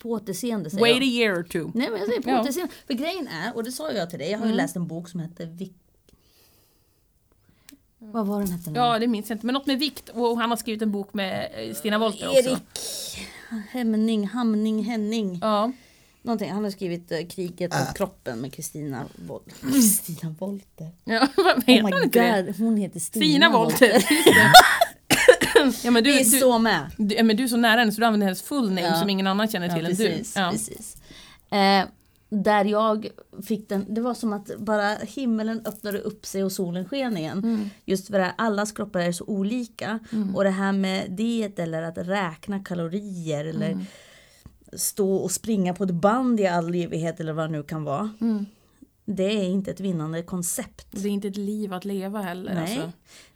S3: På återseende säger
S1: Wait a Mm.
S3: jag.
S1: year or two.
S3: Nej men jag säger på
S1: Ja.
S3: återseende. För grejen är, och det sa jag till dig, jag har ju läst en bok som heter Vik... Vad var den hette nu?
S1: Ja, det minns jag inte. Men något med vikt och han har skrivit en bok med eh, Stina Wollter också.
S3: Erik Hemning, Hamning, Henning.
S1: Ja.
S3: Någonting. Han har skrivit eh, Kriget mot kroppen med Kristina Woll- Kristina Wolter.
S1: ja vad
S3: Oh
S1: heter
S3: my
S1: han inte det?
S3: god, hon heter Stina,
S1: Stina Wollter. Just det. ja, men du,
S3: Vi är
S1: du,
S3: så med.
S1: du, ja, men du är så nära henne så du använder hennes full name
S3: Ja.
S1: som ingen annan känner till
S3: Ja,
S1: än
S3: precis,
S1: du. Ja.
S3: precis. Eh, där jag fick den, det var som att bara himlen öppnade upp sig och solen sken igen. Just för att allas kroppar är så olika. Och det här med diet eller att räkna kalorier eller
S1: Mm.
S3: stå och springa på ett band i all evighet eller vad det nu kan vara. Det är inte ett vinnande koncept.
S1: Och Det är inte ett liv att leva heller. Nej.
S3: Nej.
S1: Alltså.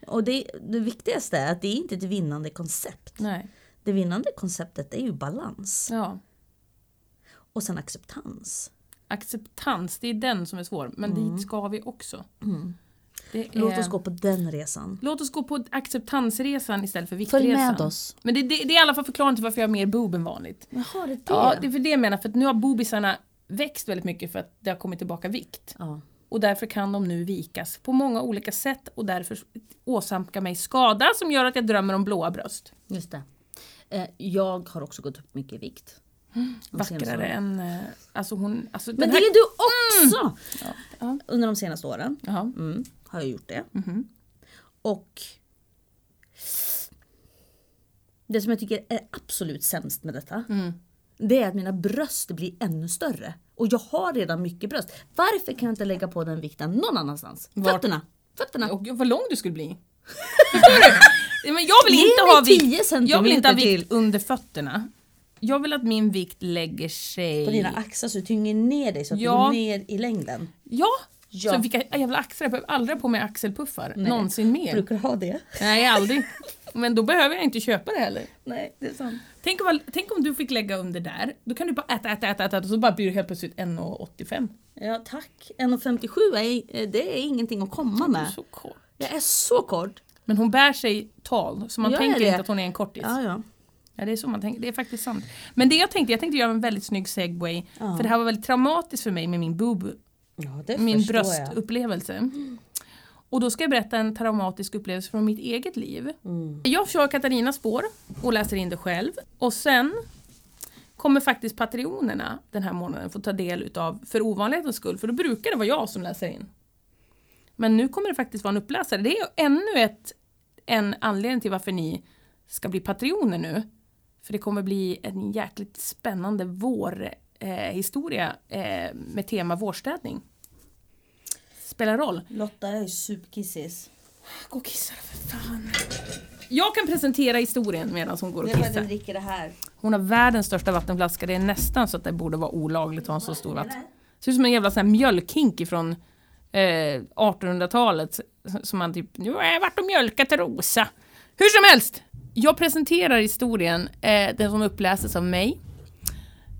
S3: Och det, det viktigaste är att det är inte ett vinnande koncept.
S1: Nej.
S3: Det vinnande konceptet är ju balans.
S1: Ja.
S3: Och sen acceptans.
S1: Acceptans, det är den som är svår. Men dit ska vi också. Det är...
S3: Mm. Låt oss gå på den resan.
S1: Låt oss gå på acceptansresan istället för viktresan.
S3: Följ med oss.
S1: Men det, det, det är i alla fall förklaringen till varför jag har mer boob än vanligt.
S3: Jaha, det är det.
S1: Ja, det är för det jag menar. För att nu har boobisarna växt väldigt mycket för att det har kommit tillbaka vikt.
S3: Ja.
S1: Och därför kan de nu vikas på många olika sätt och därför åsamka mig skada som gör att jag drömmer om blåa bröst.
S3: Just det. Eh, jag har också gått upp mycket i vikt. De senaste
S1: Vackrare
S3: åren.
S1: än... eh, Alltså hon... Alltså
S3: Men Mm.
S1: den
S3: det
S1: här...
S3: är du också!
S1: Ja.
S3: Under de senaste åren
S1: Jaha.
S3: mm, har jag gjort det. Och det som jag tycker är absolut sämst med detta det är att mina bröst blir ännu större. Och jag har redan mycket bröst. Varför kan jag inte lägga på den vikten någon annanstans?
S1: Vart?
S3: Fötterna! Fötterna!
S1: Och gud, vad lång du skulle bli. Förstår du? Nej, Men jag vill
S3: Ge
S1: inte
S3: mig
S1: ha
S3: 10
S1: vikt,
S3: centimeter
S1: jag vill inte ha vikt
S3: till.
S1: under fötterna. Jag vill att min vikt lägger sig...
S3: På dina axlar så du tynger ner dig så att
S1: Ja.
S3: du går ner i längden.
S1: Ja!
S3: Ja.
S1: Så vilka jävla axlar, jag behöver aldrig ha på mig axelpuffar. Någonsin mer.
S3: Brukar du ha det?
S1: Nej, aldrig. Men då behöver jag inte köpa det heller.
S3: Nej, det är sant.
S1: Tänk om, tänk om du fick lägga under där, då kan du bara äta, äta, äta, äta och så bara blir du helt plötsligt 1,85.
S3: Ja tack. 1,57 är, eh, det är ingenting att komma
S1: Du är
S3: med.
S1: Så kort.
S3: Jag är så kort.
S1: Men hon bär sig tal, så man
S3: Gör jag
S1: tänker
S3: det?
S1: inte att hon är en kortis.
S3: Ja, ja.
S1: Ja, det är så man tänker. Det är faktiskt sant. Men det jag tänkte, jag tänkte göra en väldigt snygg segway. För det här var väldigt traumatiskt för mig med min boob,
S3: ja det
S1: min
S3: förstår jag.
S1: bröstupplevelse. Och då ska jag berätta en traumatisk upplevelse från mitt eget liv.
S3: Mm.
S1: Jag kör Katarinas spår och läser in det själv. Och sen kommer faktiskt Patreonerna den här månaden få ta del utav, för ovanlighetens skull, för då brukar det vara jag som läser in. Men nu kommer det faktiskt vara en uppläsare. Det är ännu ett, en anledning till varför ni ska bli patrioner nu. För det kommer bli en jäkligt spännande vårhistoria eh, historia, eh, med tema vårstädning. Spelar roll.
S3: Lotta är ju superkissis.
S1: Gå och kissa då, för fan. Jag kan presentera historien medan hon går och
S3: Nu börjar
S1: kissar.
S3: du dricka det här.
S1: Hon har världens största vattenflaska. Det är nästan så att det borde vara olagligt att ha en så stor vatten. Ser ut som en jävla sån här mjölkhink ifrån eh, 1800-talet. s- Som man typ, nu har jag varit och mjölkat Rosa. Hur som helst, Jag presenterar historien, eh, den som uppläses av mig.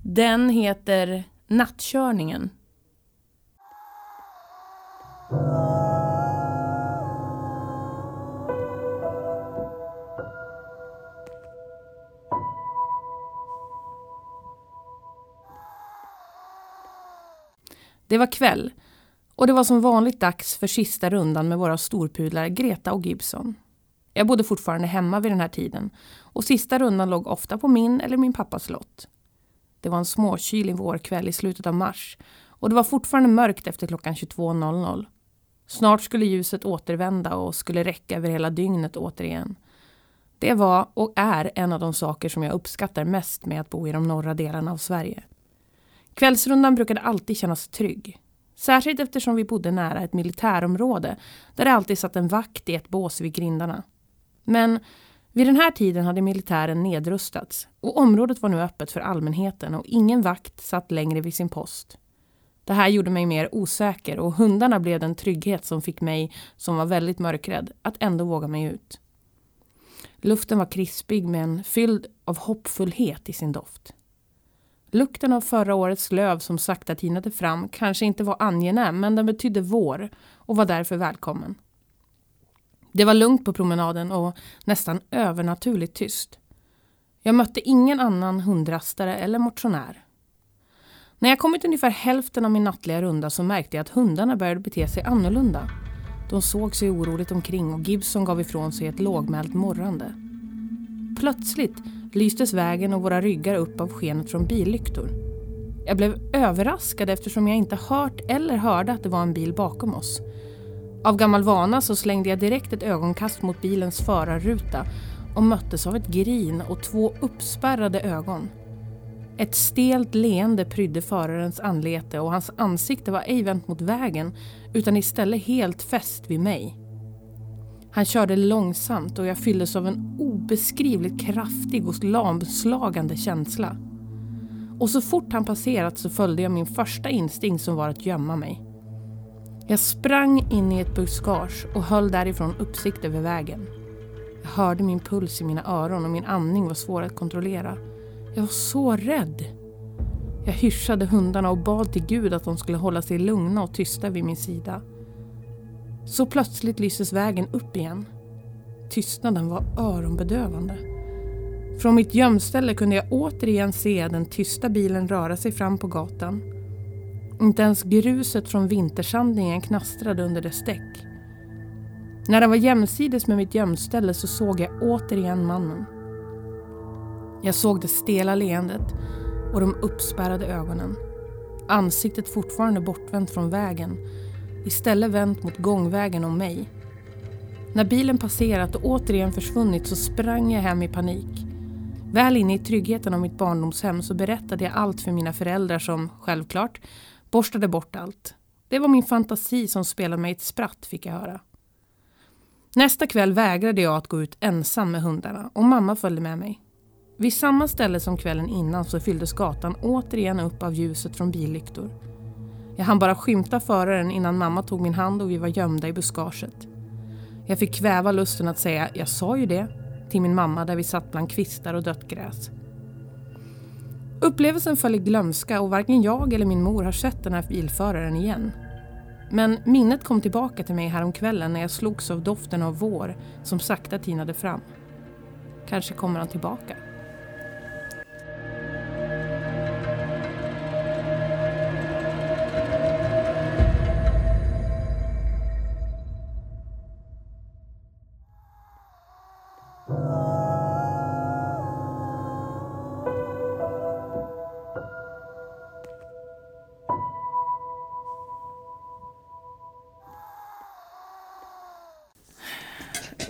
S1: Den heter Nattkörningen. Det var kväll och det var som vanligt dags för sista rundan med våra storpudlar Greta och Gibson. Jag bodde fortfarande hemma vid den här tiden och sista rundan låg ofta på min eller min pappas lott. Det var en småkylig vårkväll i slutet av mars och det var fortfarande mörkt efter klockan 22.00. Snart skulle ljuset återvända och skulle räcka över hela dygnet återigen. Det var och är en av de saker som jag uppskattar mest med att bo i de norra delarna av Sverige. Kvällsrundan brukade alltid kännas trygg. Särskilt eftersom vi bodde nära ett militärområde där det alltid satt en vakt i ett bås vid grindarna. Men vid den här tiden hade militären nedrustats och området var nu öppet för allmänheten och ingen vakt satt längre vid sin post. Det här gjorde mig mer osäker och hundarna blev den trygghet som fick mig, som var väldigt mörkrädd, att ändå våga mig ut. Luften var krispig men fylld av hoppfullhet i sin doft. Lukten av förra årets löv som sakta tinade fram kanske inte var angenäm men den betydde vår och var därför välkommen. Det var lugnt på promenaden och nästan övernaturligt tyst. Jag mötte ingen annan hundrastare eller motionär. När jag kommit ungefär hälften av min nattliga runda så märkte jag att hundarna började bete sig annorlunda. De såg sig oroligt omkring och Gibson gav ifrån sig ett lågmält morrande. Plötsligt lystes vägen och våra ryggar upp av skenet från billyktor. Jag blev överraskad eftersom jag inte hört eller hörde att det var en bil bakom oss. Av gammal vana så slängde jag direkt ett ögonkast mot bilens förarruta och möttes av ett grin och två uppspärrade ögon. Ett stelt leende prydde förarens anlete och hans ansikte var ej vänt mot vägen utan istället helt fäst vid mig. Han körde långsamt och jag fylldes av en obeskrivligt kraftig och lamslagande känsla. Och så fort han passerat så följde jag min första instinkt som var att gömma mig. Jag sprang in i ett buskage och höll därifrån uppsikt över vägen. Jag hörde min puls i mina öron och min andning var svår att kontrollera. Jag var så rädd. Jag hyschade hundarna och bad till Gud att de skulle hålla sig lugna och tysta vid min sida. Så plötsligt lyses vägen upp igen. Tystnaden var öronbedövande. Från mitt gömställe kunde jag återigen se den tysta bilen röra sig fram på gatan. Inte ens gruset från vintersandningen knastrade under dess däck. När den var jämsides med mitt gömställe så såg jag återigen mannen. Jag såg det stela leendet och de uppspärrade ögonen. Ansiktet fortfarande bortvänt från vägen istället vänt mot gångvägen och mig. När bilen passerat och återigen försvunnit så sprang jag hem i panik. Väl inne i tryggheten av mitt barndomshem så berättade jag allt för mina föräldrar som, självklart, borstade bort allt. Det var min fantasi som spelade mig ett spratt, fick jag höra. Nästa kväll vägrade jag att gå ut ensam med hundarna och mamma följde med mig. Vid samma ställe som kvällen innan så fylldes gatan återigen upp av ljuset från billyktor. Jag hann bara skymta föraren innan mamma tog min hand och vi var gömda i buskaget. Jag fick kväva lusten att säga “jag sa ju det” till min mamma där vi satt bland kvistar och dött gräs. Upplevelsen föll i glömska och varken jag eller min mor har sett den här bilföraren igen. Men minnet kom tillbaka till mig häromkvällen när jag slogs av doften av vår som sakta tinade fram. Kanske kommer han tillbaka.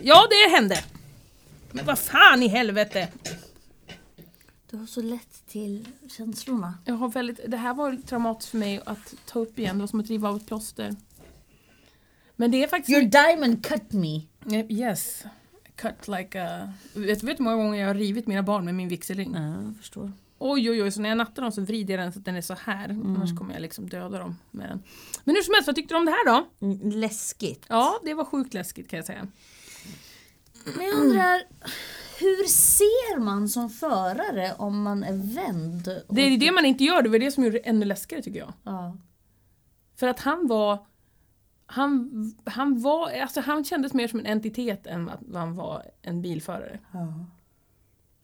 S1: Ja, det hände. Men vad fan i helvete!
S3: Du har så lätt till känslorna.
S1: Jag har väldigt, det här var traumatiskt för mig att ta upp igen. Det var som att riva av ett plåster. Men det är faktiskt...
S3: Your diamond cut me.
S1: Yes. Cut like a... Vet vet du hur många gånger jag har rivit mina barn med min vigselring?
S3: Ja, jag förstår.
S1: Oj, oj, oj. Så när jag nattar dem så vrider jag den så att den är så här. Annars kommer jag liksom döda dem med den. Men hur som helst, vad tyckte du om det här då?
S3: Mm, Läskigt.
S1: Ja, det var sjukt läskigt kan jag säga.
S3: Men jag undrar, Hur ser man som förare om man är vänd? Och,
S1: Det är det man inte gör, det var det som gjorde det ännu läskigare tycker jag.
S3: ja.
S1: För att han var... Han, han, var, alltså han kändes mer som en entitet än att han var en bilförare.
S3: Ja.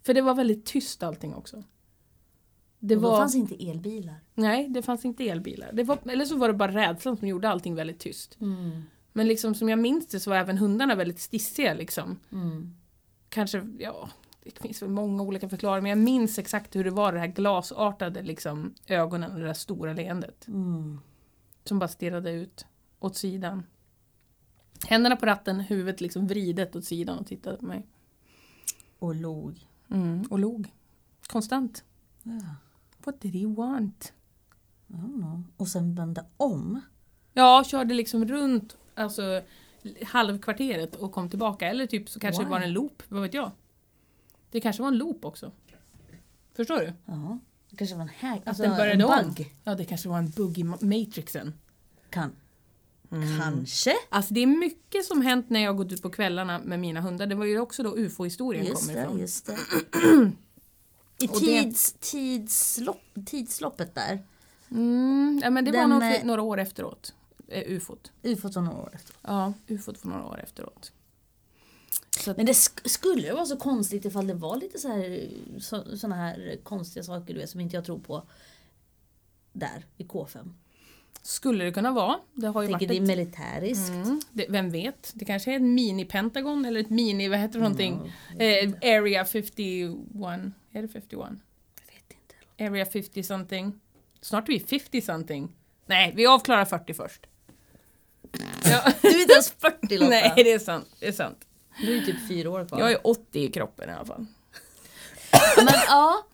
S1: För det var väldigt tyst allting också. Det
S3: Det var... Då
S1: var,
S3: fanns inte elbilar.
S1: nej, det fanns inte elbilar. Det var, eller så var det bara rädslan som gjorde allting väldigt tyst.
S3: Mm.
S1: Men liksom som jag minns det så var även hundarna väldigt stissiga liksom.
S3: Mm.
S1: Kanske, ja, det finns väl många olika förklaringar men jag minns exakt hur det var det här glasartade liksom ögonen och det där stora leendet.
S3: Mm.
S1: Som bara stirrade ut åt sidan. Händerna på ratten, huvudet liksom vridet åt sidan och tittade på mig.
S3: Och log.
S1: Mm, och log. Konstant. What did he want?
S3: I don't know. Och sen vända om.
S1: Ja, körde liksom runt alltså, halvkvarteret och kom tillbaka. Eller typ så kanske det var en loop, vad vet jag. Det kanske var en loop också. Förstår du?
S3: Ja. Det kanske var en hack.
S1: Att den började
S3: en
S1: om.
S3: bugg.
S1: Alltså, Ja, det kanske var en bugg i ma- matrixen.
S3: Kan. Kanske.
S1: Alltså det är mycket som hänt när jag har gått ut på kvällarna med mina hundar. Det var ju också då ufo-historien
S3: Just
S1: kommer
S3: det,
S1: ifrån.
S3: just det. I
S1: Och det-
S3: tids, tidslopp, tidsloppet där.
S1: Mm, ja, men det
S3: Den,
S1: var nog
S3: eh,
S1: för, några år efteråt. Eh, ufot.
S3: Ufot var några år efter.
S1: Ja, ufot för några år efteråt. Så att,
S3: Men det sk- skulle vara så konstigt ifall det var lite så här, så, såna här konstiga saker du vet, som inte jag tror på. Där, i K5.
S1: skulle det kunna vara. Det har ju
S3: Tänker
S1: varit
S3: det är
S1: ett
S3: militäriskt.
S1: Mm, det, vem vet? Det kanske är en mini-Pentagon eller ett mini, vad heter det någonting?
S3: Mm.
S1: Eh, Area 51. Är det 51?
S3: Jag vet inte.
S1: Area 50 something. Snart är vi 50 something. Nej, vi avklarar 40 först. Ja.
S3: Du är inte ens 40 Lotta.
S1: Nej, det är sant. Det är sant.
S3: Du är typ fyra år kvar.
S1: Jag är 80 i kroppen i alla fall.
S3: Men ja,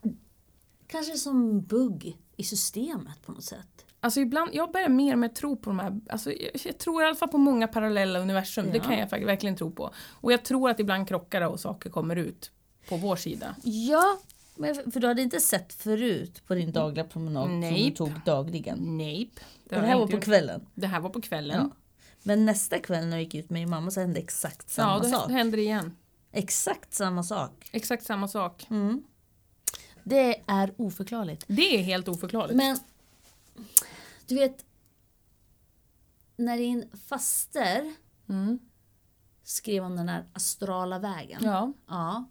S3: kanske som bugg i systemet på något sätt.
S1: Alltså ibland, jag börjar mer och mer tro på de här, alltså jag, jag tror i alla fall på många parallella universum, det kan jag fak- verkligen tro på. Och jag tror att ibland krockar det och saker kommer ut på vår sida.
S3: Ja, men för du hade inte sett förut på din dagliga promenad som
S1: Nej.
S3: du tog dagligen.
S1: Nej.
S3: Det, det här var på kvällen.
S1: Det här var på kvällen.
S3: Ja. Men nästa kväll när jag gick ut med min mamma så hände exakt samma
S1: Ja, då
S3: sak.
S1: sak. händer det igen.
S3: Exakt samma sak.
S1: Exakt samma sak.
S3: Mm. Det är oförklarligt.
S1: Det är helt oförklarligt.
S3: Men du vet, när din faster
S1: Mm.
S3: skrev om den här astrala vägen.
S1: Ja.
S3: Ja.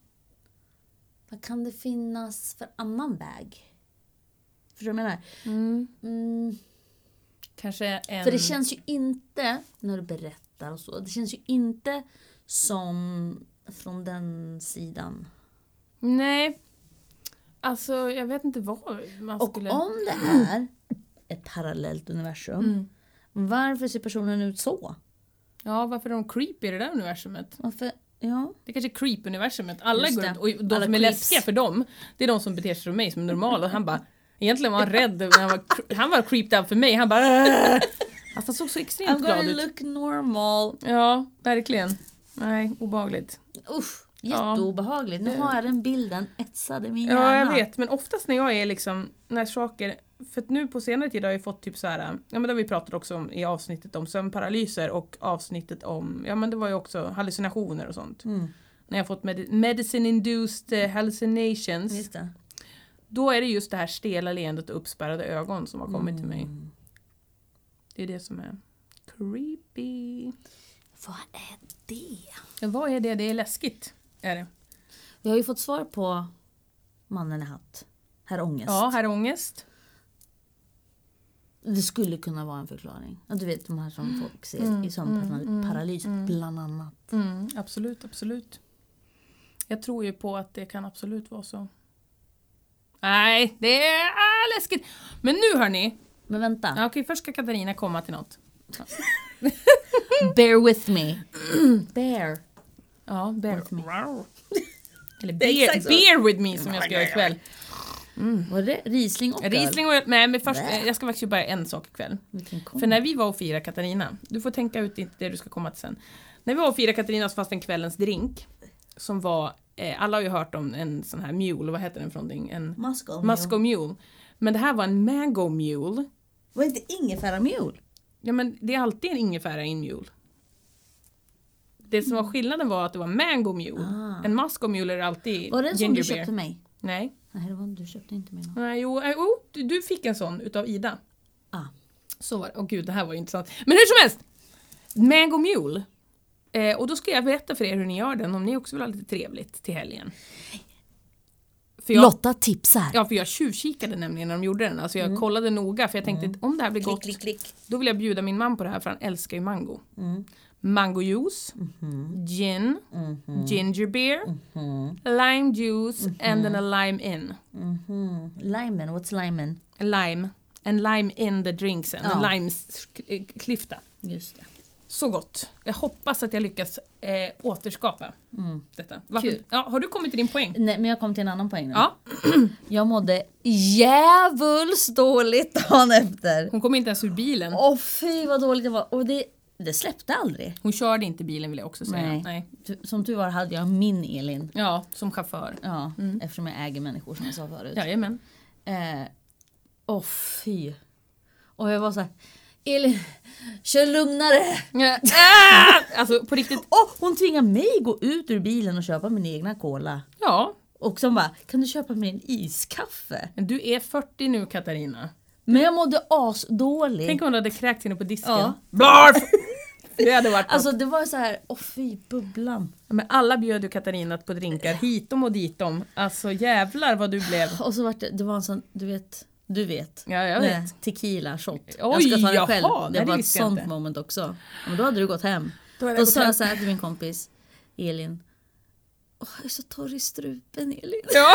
S3: Vad kan det finnas för annan väg? Förstår du vad jag menar?
S1: Mm.
S3: Mm,
S1: Kanske en...
S3: för det känns ju inte, när du berättar och så, det känns ju inte som från den sidan.
S1: Nej. Alltså, jag vet inte vad man
S3: Och
S1: skulle...
S3: om det är ett parallellt universum,
S1: Mm.
S3: varför ser personen ut så?
S1: Ja, varför är de creepy i det där universumet?
S3: Varför? Ja.
S1: Det kanske är creep-universumet. Alla
S3: Just
S1: går
S3: det.
S1: runt och de
S3: Alla
S1: som är
S3: creeps.
S1: läskiga för dem, det är de som beter sig som mig som är normala. Han bara... Egentligen var han rädd, men han var, han var creeped out för mig. Han bara... "Åh!" Alltså han såg så
S3: I'm
S1: extremt
S3: gonna
S1: glad ut.
S3: look normal.
S1: Ja, verkligen. Nej, obehagligt.
S3: Usch,
S1: Ja.
S3: jätteobehagligt. Nu har jag den bilden etsad i min hjärna.
S1: Ja, jag vet. Men oftast när jag är liksom, när saker, för att nu på senare tid har jag fått typ så här, ja men det har vi pratat också om i avsnittet om sömnparalyser och avsnittet om, ja men det var ju också hallucinationer och sånt.
S3: Mm.
S1: När jag har fått med, medicine induced eh, hallucinations,
S3: Just det.
S1: då är det just det här stela leendet och uppspärrade ögon som har kommit till mig. Det är det som är creepy.
S3: Vad är det?
S1: Ja, Vad är det? Det är läskigt. Är det?
S3: Vi har ju fått svar på mannen i hatt. Herr Ångest.
S1: Ja, här är ångest.
S3: Det skulle kunna vara en förklaring. Ja, Du vet de här som folk ser i mm, sömnparalys bland annat.
S1: Mm, absolut, absolut. Jag tror ju på att det kan absolut vara så. Nej, det är ah, läskigt. Men nu hörni.
S3: Men vänta,
S1: Ja, okej, först ska Katarina komma till något.
S3: bear with me. bear.
S1: Ja, bear with me. Eller
S3: Det är
S1: bear,
S3: exakt så.
S1: bear with me som jag ska göra ikväll.
S3: Var det Riesling och öl?
S1: Riesling och Nej, men först,
S3: Bä.
S1: jag ska faktiskt bara en sak ikväll.
S3: Vilken kom.
S1: För när vi var och firade Katarina, du får tänka ut inte det du ska komma till sen. När vi var och firade Katarina så fanns det en kvällens drink som var, eh, alla har ju hört om en sån här mule, vad heter den för någonting? En,
S3: Muscle.
S1: Musco Mule. Men det här var en Mango Mule.
S3: Var det inte ingefära mjol?
S1: Ja men det är alltid en ingefära i en mule. Det som var skillnaden var att det var mango mule. En musco mule är alltid
S3: Ah. Var det en som
S1: ginger
S3: du köpte
S1: beer.
S3: mig?
S1: Nej.
S3: Nej, det var, du köpte inte mig någon.
S1: Nej, jo, eh, oh, du, du fick en sån utav Ida.
S3: Ah.
S1: Så var det. Åh gud, det här var ju intressant. Men hur som helst! Mango mule. Eh, och då ska jag berätta för er hur ni gör den om ni också vill ha lite trevligt till helgen. För jag,
S2: Lotta tipsar.
S1: ja, för jag tjuvkikade nämligen när de gjorde den. Alltså jag kollade noga för jag tänkte att om det här blir gott
S3: Mm. Klick, klick. Mm.
S1: då vill jag bjuda min man på det här för han älskar ju mango. Mangojuice,
S3: Mm-hmm.
S1: gin, ginger beer, lime juice and then a lime
S3: Mm-hmm.
S1: in.
S3: Limen, what's limen?
S1: Lime. En lime in the drinks, en
S3: Ja.
S1: limesklyfta.
S3: Just det.
S1: Så gott. Jag hoppas att jag lyckas eh, återskapa detta. Varför-
S3: Mm. Kul.
S1: Ja, har du kommit till din poäng?
S3: Nej, men jag kom till en annan poäng nu.
S1: Ja.
S3: Jag mådde djävulskt dåligt dagen efter.
S1: Hon kom inte ens ur bilen.
S3: Åh fy vad dåligt det var. Och det, det släppte aldrig.
S1: Hon körde inte bilen vill jag också säga.
S3: Nej. Tu- Som tur var hade jag min Elin.
S1: Ja, som chaufför.
S3: Ja, eftersom jag äger människor som jag sa förut.
S1: Jajamän.
S3: Eh, Åh fy. Och jag var så här, Elin, kör lugnare.
S1: Ja. Ah! Alltså på riktigt,
S3: Och hon tvingar mig gå ut ur bilen och köpa min egna cola.
S1: ja.
S3: Och som bara, kan du köpa mig en iskaffe?
S1: Men du är 40 nu Katarina.
S3: Men jag mådde asdåligt.
S1: Tänk om du hade kräkts inne på disken.
S3: Ja.
S1: Blarf! Det hade varit alltså,
S3: Alltså det var så här, åh fy bubblan.
S1: Men alla bjöd ju Katarina på drinkar hitom och ditom. Alltså jävlar vad du blev.
S3: Och så vart det, det var en sån, du vet, du vet.
S1: Ja, jag
S3: Nej,
S1: vet.
S3: tequila shot.
S1: Oj,
S3: jag ska ta det
S1: jaha,
S3: själv. Det
S1: nej, det
S3: var ett
S1: visste jag
S3: sånt
S1: inte.
S3: moment också. Men då hade du gått hem.
S1: Då
S3: Då,
S1: hade jag gått
S3: sa
S1: hem.
S3: jag så här till min kompis Elin. Åh, jag är så torr i strupen Elin.
S1: Ja.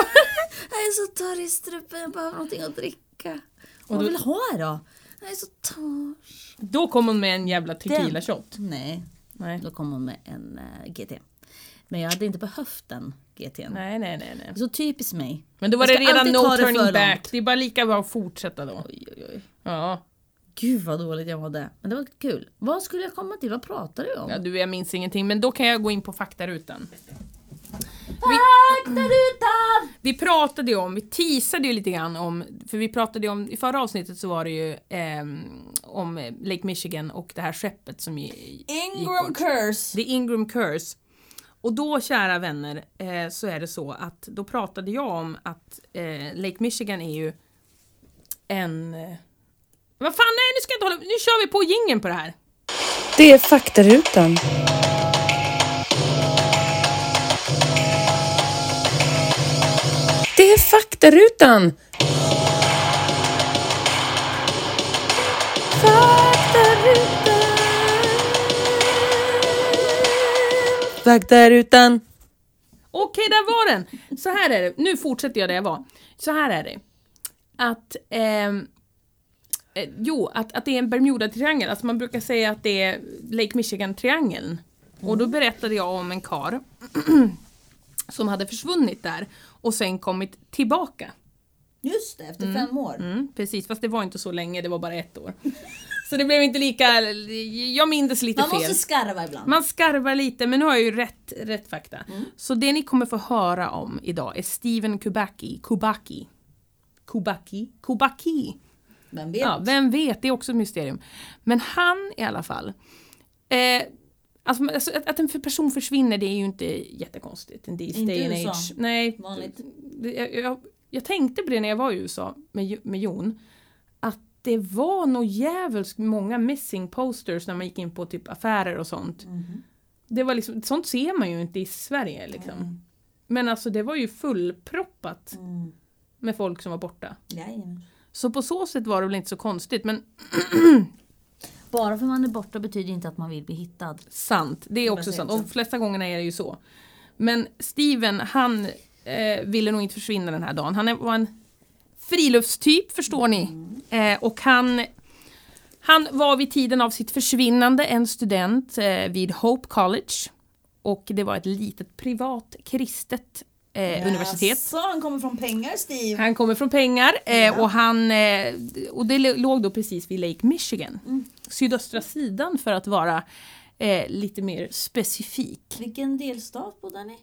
S3: Jag är så torr i strupen, jag behöver någonting att dricka.
S1: Och
S3: Vad
S1: då-
S3: vill du ha då? Jag är så torr.
S1: Då kom hon med en jävla tequila
S3: Den.
S1: shot.
S3: Nej,
S1: Nej.
S3: då kom hon med en eh, GT. Men jag hade inte behövt den GTn.
S1: nej, nej, nej, nej.
S3: Så typiskt mig.
S1: Men då var det
S3: Jag ska
S1: redan
S3: alltid
S1: no
S3: ta det
S1: turning
S3: för
S1: back.
S3: långt.
S1: Det är bara lika bra att fortsätta då.
S3: Oj, oj, oj.
S1: Ja.
S3: Gud vad dåligt jag mådde. Men det var kul. Vad skulle jag komma till? Vad pratade jag om?
S1: ja, du jag minns ingenting men då kan jag gå in på faktarutan.
S3: Faktarutan!
S1: Vi pratade ju om, vi teasade ju lite grann om, för vi pratade ju om, i förra avsnittet så var det ju ehm, om Lake Michigan och det här skeppet som ju
S3: Ingram Curse!
S1: The Ingram Curse. Och då kära vänner eh, så är det så att då pratade jag om att eh, Lake Michigan är ju en... Eh, vad fan nej nu ska jag inte hålla Nu kör vi på gingen på det här.
S5: Det är faktarutan. Det är faktarutan. Faktarutan. Faktarutan.
S1: Okej, där var den! Så här är det, nu fortsätter jag där jag var. Så här är det. Att... ehm, eh, jo, att, att det är en Bermuda-triangel. Alltså man brukar säga att det är Lake Michigan-triangeln. Och då berättade jag om en kar som hade försvunnit där och sen kommit tillbaka.
S3: Just det, efter fem år.
S1: Mm, precis, fast det var inte så länge, det var bara ett år. Så det blev inte lika... Jag mindes lite
S3: Man
S1: fel.
S3: måste skarva ibland.
S1: Man skarvar lite, men nu har jag ju rätt, rätt fakta. Så det ni kommer få höra om idag är Steven Kubacki. Kubacki. Kubacki. Kubacki.
S3: Vem vet?
S1: Ja, vem vet, det är också ett mysterium. Men han i alla fall. Eh, alltså, alltså, att, att en för- person försvinner det är ju inte jättekonstigt. In these
S3: Inte
S1: day
S3: i
S1: and
S3: USA.
S1: age. Nej,
S3: Vanligt.
S1: det- Jag, jag, jag tänkte på det när jag var i USA med, Jo- med Jon. Att det var nog jävligt många missing posters när man gick in på typ affärer och sånt.
S3: Mhm.
S1: Det var liksom, sånt ser man ju inte i Sverige liksom. Men alltså det var ju fullproppat
S3: Mm.
S1: med folk som var borta.
S3: Jajamän.
S1: Så på så sätt var det väl inte så konstigt men
S3: Bara för man är borta betyder inte att man vill bli hittad.
S1: sant. Det är också
S3: säger
S1: sant.
S3: också.
S1: Och de flesta gångerna är det ju så. Men Steven han eh, ville nog inte försvinna den här dagen. Han är- var en friluftstyp förstår ni. Eh, och han, han var vid tiden av sitt försvinnande en student eh, vid Hope College. Och det var ett litet privat kristet eh, universitet.
S3: Så han kommer från pengar Steve.
S1: Han kommer från pengar eh, och, han, eh, och det l- låg då precis vid Lake Michigan. Sydöstra sidan för att vara eh, lite mer specifik.
S3: Vilken delstat bodde han i?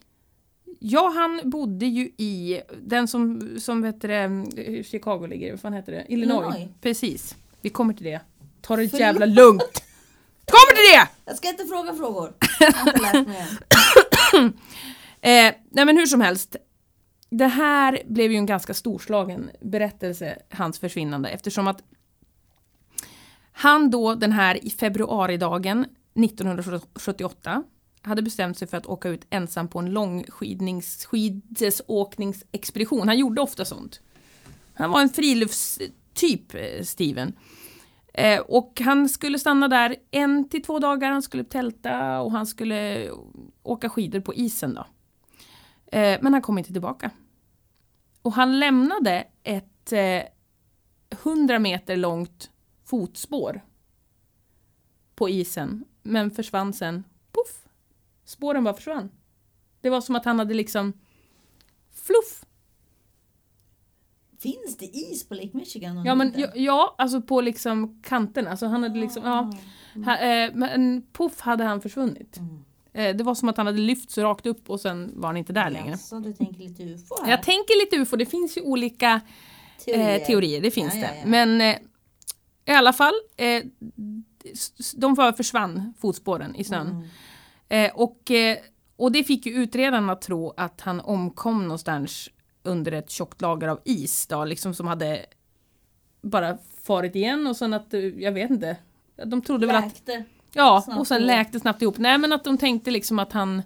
S1: Ja, han bodde ju i den som, som heter det, eh, Chicago ligger, vad fan heter det? Illinois.
S3: Illinois.
S1: Precis. Vi kommer till det. Ta det jävla lugnt. Kommer till det!
S6: Jag ska inte fråga frågor. Jag har inte lärt mig än.
S1: Eh, nej men hur som helst. Det här blev ju en ganska storslagen berättelse, hans försvinnande, eftersom att han då den här i februaridagen 1978 hade bestämt sig för att åka ut ensam på en långskidnings- skidesåkningsexpedition. Han gjorde ofta sånt. Han var en friluftstyp, eh, Steven. Eh, och han skulle stanna där en till två dagar, han skulle tälta och han skulle åka skidor på isen då. Eh, men han kom inte tillbaka. Och han lämnade ett eh, 100 meter långt fotspår på isen, men försvann sen. Puff! Spåren bara försvann. Det var som att han hade liksom fluff.
S6: Finns det is på Lake Michigan? och
S1: Ja, men,
S3: Mm.
S6: inte?
S1: ja, ja, alltså på liksom kanterna. Alltså han hade liksom,
S3: Ah.
S1: ja. Ha, eh, men poff hade han försvunnit. Eh, det var som att han hade lyfts rakt upp och sen var han inte där längre.
S6: Jaså, du tänker lite ufo här?
S1: Jag tänker lite ufo, det finns ju olika teorier, eh, teorier det finns
S6: Ja,
S1: det.
S6: ja, ja.
S1: Men eh, i alla fall, eh, s- s- de bara försvann, fotspåren i snön.
S6: Mm.
S1: Eh, och, eh, och det fick ju utredarna att tro att han omkom någonstans under ett tjockt lager av is då, liksom som hade bara farit igen och sen att, eh, jag vet inte. De trodde väl att
S6: Läkte.
S1: Ja,
S6: Snabbt
S1: och sen
S6: ihop.
S1: läkte snabbt ihop. Nej men att de tänkte liksom att han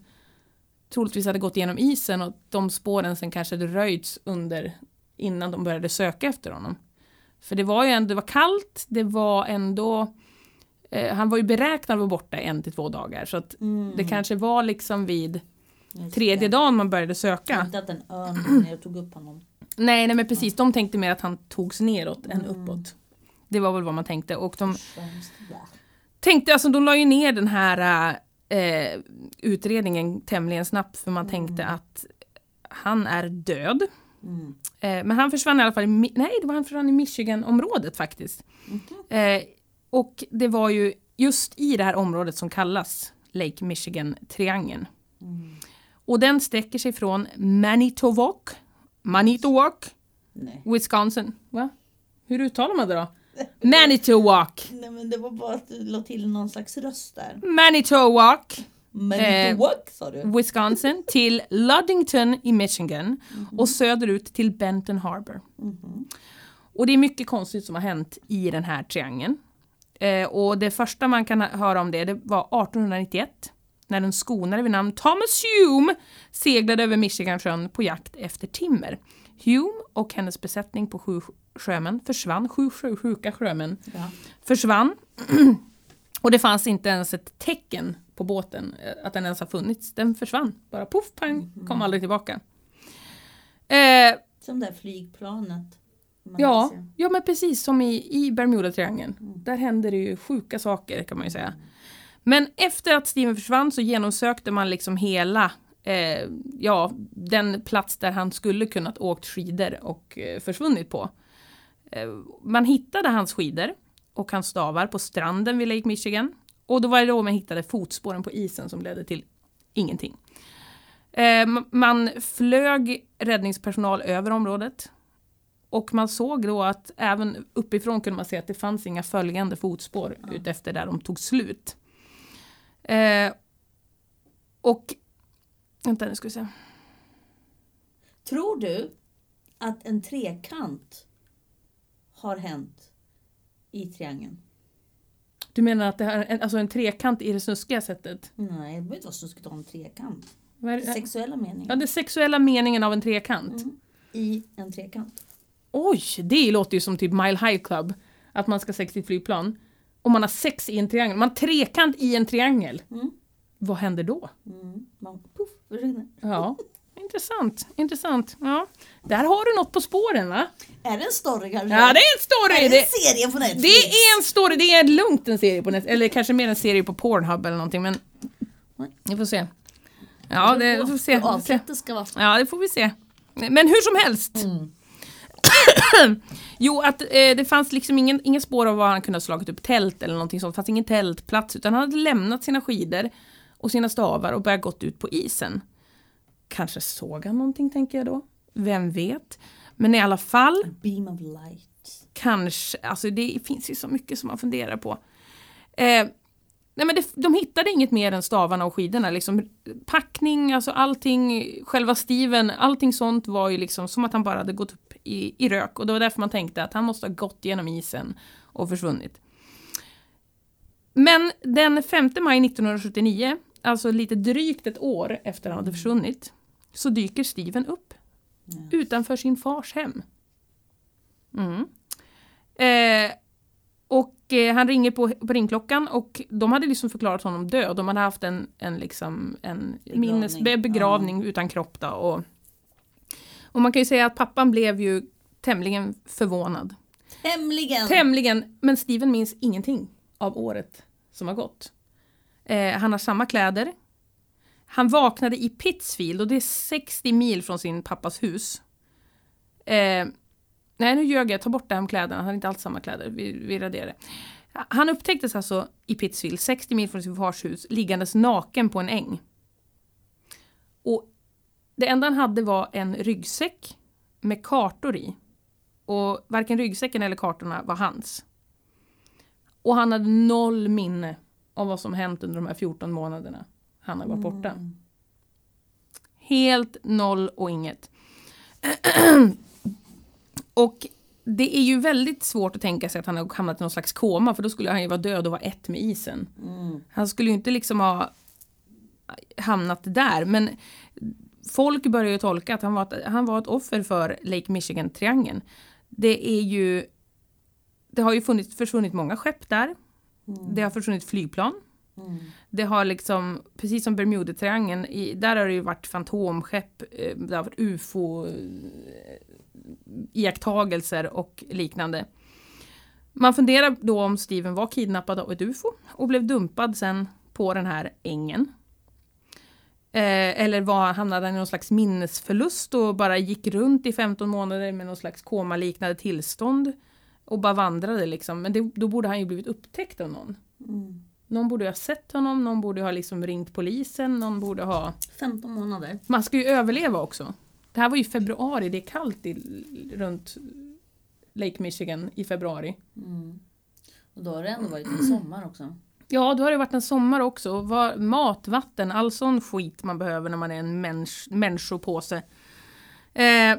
S1: troligtvis hade gått igenom isen och de spåren sen kanske hade röjts under innan de började söka efter honom. För det var ju ändå, det var kallt, det var ändå eh, han var ju beräknad att vara borta en till två dagar så att det kanske var liksom vid
S6: Mm. Just det.
S1: tredje dagen man började söka.
S6: Inte att en örn kom ner och tog upp honom.
S1: Nej, nej men precis, de tänkte mer att han togs neråt
S6: Mm.
S1: än uppåt. Det var väl vad man tänkte och de,
S6: Så hemskt. Ja.
S1: tänkte alltså, de la ju ner den här eh, utredningen tämligen snabbt för man tänkte att han är död.
S6: Mm.
S1: Eh, men han försvann i alla fall i, Mi- nej det var han försvann i Michigan-området faktiskt. Eh, och det var ju just i det här området som kallas Lake Michigan-triangeln. Och den sträcker sig från Manitowoc, Manitowoc,
S6: Nej.
S1: Wisconsin. Va? Hur uttalar man det då? Manitowoc,
S6: Nej men det var bara att du la till någon slags röst där.
S1: Manitowoc.
S6: Men
S1: Eh,
S6: walk sa du?
S1: Wisconsin till Ludington i Michigan och söderut till Benton Harbor. Och det är mycket konstigt som har hänt i den här triangeln. Eh, och det första man kan ha- höra om det, det var 1891 när en skonare vid namn Thomas Hume seglade över Michigansjön på jakt efter timmer. Hume och hennes besättning på sju sjömän försvann, sju sjö- sjuka sjömän
S6: Ja.
S1: försvann. Och det fanns inte ens ett tecken på båten eh, att den ens har funnits. Den försvann. Bara poff, pang, kom aldrig tillbaka. Eh,
S6: Som det där flygplanet. Man
S1: ja,
S6: ser. Mm.
S1: ja, men precis som i, i Bermudatriangeln. Där händer det ju sjuka saker kan man ju säga. Men efter att Steven försvann så genomsökte man liksom hela eh, ja, den plats där han skulle kunnat åkt skidor och eh, försvunnit på. Eh, man hittade hans skidor och hans stavar på stranden vid Lake Michigan. Och då var det då man hittade fotspåren på isen som ledde till ingenting. Eh, m- man flög räddningspersonal över området. Och man såg då att även uppifrån kunde man se att det fanns inga följande fotspår utefter där de tog slut. Eh, och... Vänta nu ska vi se.
S6: Tror du att en trekant har hänt i triangeln?
S1: Du menar att det här är en, alltså en trekant i det snuskiga sättet?
S6: Nej, det behöver inte vara så att ha en trekant.
S1: Vad är det?
S6: Sexuella
S1: Ja,
S6: meningar.
S1: den sexuella meningen av en trekant.
S6: I en trekant.
S1: Oj, det låter ju som typ Mile High Club. Att man ska ha sex i ett flygplan. Och man har sex i en triangel. Man har trekant i en triangel.
S6: Mm.
S1: Vad händer då?
S6: Mm. Man, puff, försvinner.
S1: Ja, intressant. Intressant. Ja. Där har du något på spåren va?
S6: Är det en story kanske?
S1: Ja, det är en story!
S6: Är det
S1: Det,
S6: en serie på Netflix?
S1: det är en story, det är lugnt en serie på net, Eller kanske mer en serie på Pornhub eller någonting men... Vi får se. Ja, det vi får se. Vi får se.
S3: Avsnittet ska vara
S1: Ja, det får vi se. Men hur som helst. jo, att eh, det fanns liksom ingen, inga spår av var han kunde ha slagit upp tält eller någonting sånt. Det fanns ingen tältplats utan han hade lämnat sina skidor och sina stavar och börjat gått ut på isen. Kanske såg han någonting tänker jag då. Vem vet? Men i alla fall
S6: Beam of light.
S1: kanske, alltså det finns ju så mycket som man funderar på. Eh, nej Nej men det, de hittade inget mer än stavarna och skidorna. Liksom, packning, alltså allting, själva stiven, allting sånt var ju liksom som att han bara hade gått upp i, i rök. Och det var därför man tänkte att han måste ha gått genom isen och försvunnit. Men den 5 maj 1979, alltså lite drygt ett år efter han hade försvunnit, så dyker Steven upp. Utanför sin fars hem. Mm. Eh, och eh, han ringer på, på ringklockan och de hade liksom förklarat honom död. De hade haft en, en, liksom, en
S3: Begravning.
S1: minnes, be- begravning utan kropp. Då, och, och man kan ju säga att pappan blev ju tämligen förvånad.
S3: Tämligen.
S1: Tämligen, men Steven minns ingenting av året som har gått. Eh, han har samma kläder. Han vaknade i Pittsfield och det är 60 mil från sin pappas hus. Eh, nej, nu ljög jag. Ta bort det här med kläderna. Han har inte alls samma kläder. Vi, vi raderar det. Han upptäcktes alltså i Pittsfield, 60 mil från sin fars hus, liggandes naken på en äng. Och det enda han hade var en ryggsäck med kartor i. Och varken ryggsäcken eller kartorna var hans. Och han hade noll minne av vad som hänt under de här 14 månaderna han har varit borta. Helt noll och inget. och det är ju väldigt svårt att tänka sig att han har hamnat i någon slags koma för då skulle han ju vara död och vara ett med isen.
S6: Mm.
S1: Han skulle ju inte liksom ha hamnat där men folk börjar ju tolka att han var ett, han var ett offer för Lake Michigan-triangeln. Det är ju... Det har ju funnits, försvunnit många skepp där. Det har försvunnit flygplan. Det har liksom, precis som Bermudatriangeln, i- där har det ju varit fantomskepp, eh, det har varit eh, ufo-iakttagelser och liknande. Man funderar då om Steven var kidnappad av ett ufo och blev dumpad sen på den här ängen. Eh, eller var, hamnade han i någon slags minnesförlust och bara gick runt i 15 månader med någon slags komaliknande tillstånd. Och bara vandrade liksom. Men det, då borde han ju blivit upptäckt av någon.
S6: Mm.
S1: Någon borde ha sett honom, någon borde ha liksom ringt polisen, någon borde ha...
S3: 15 månader.
S1: Man ska ju överleva också. Det här var ju februari, det är kallt i, runt Lake Michigan i februari.
S3: Mm. Och då har det ändå varit en sommar också.
S1: Ja, då har det varit en sommar också. Var, mat, vatten, all sån skit man behöver när man är en männs- människopåse. Eh,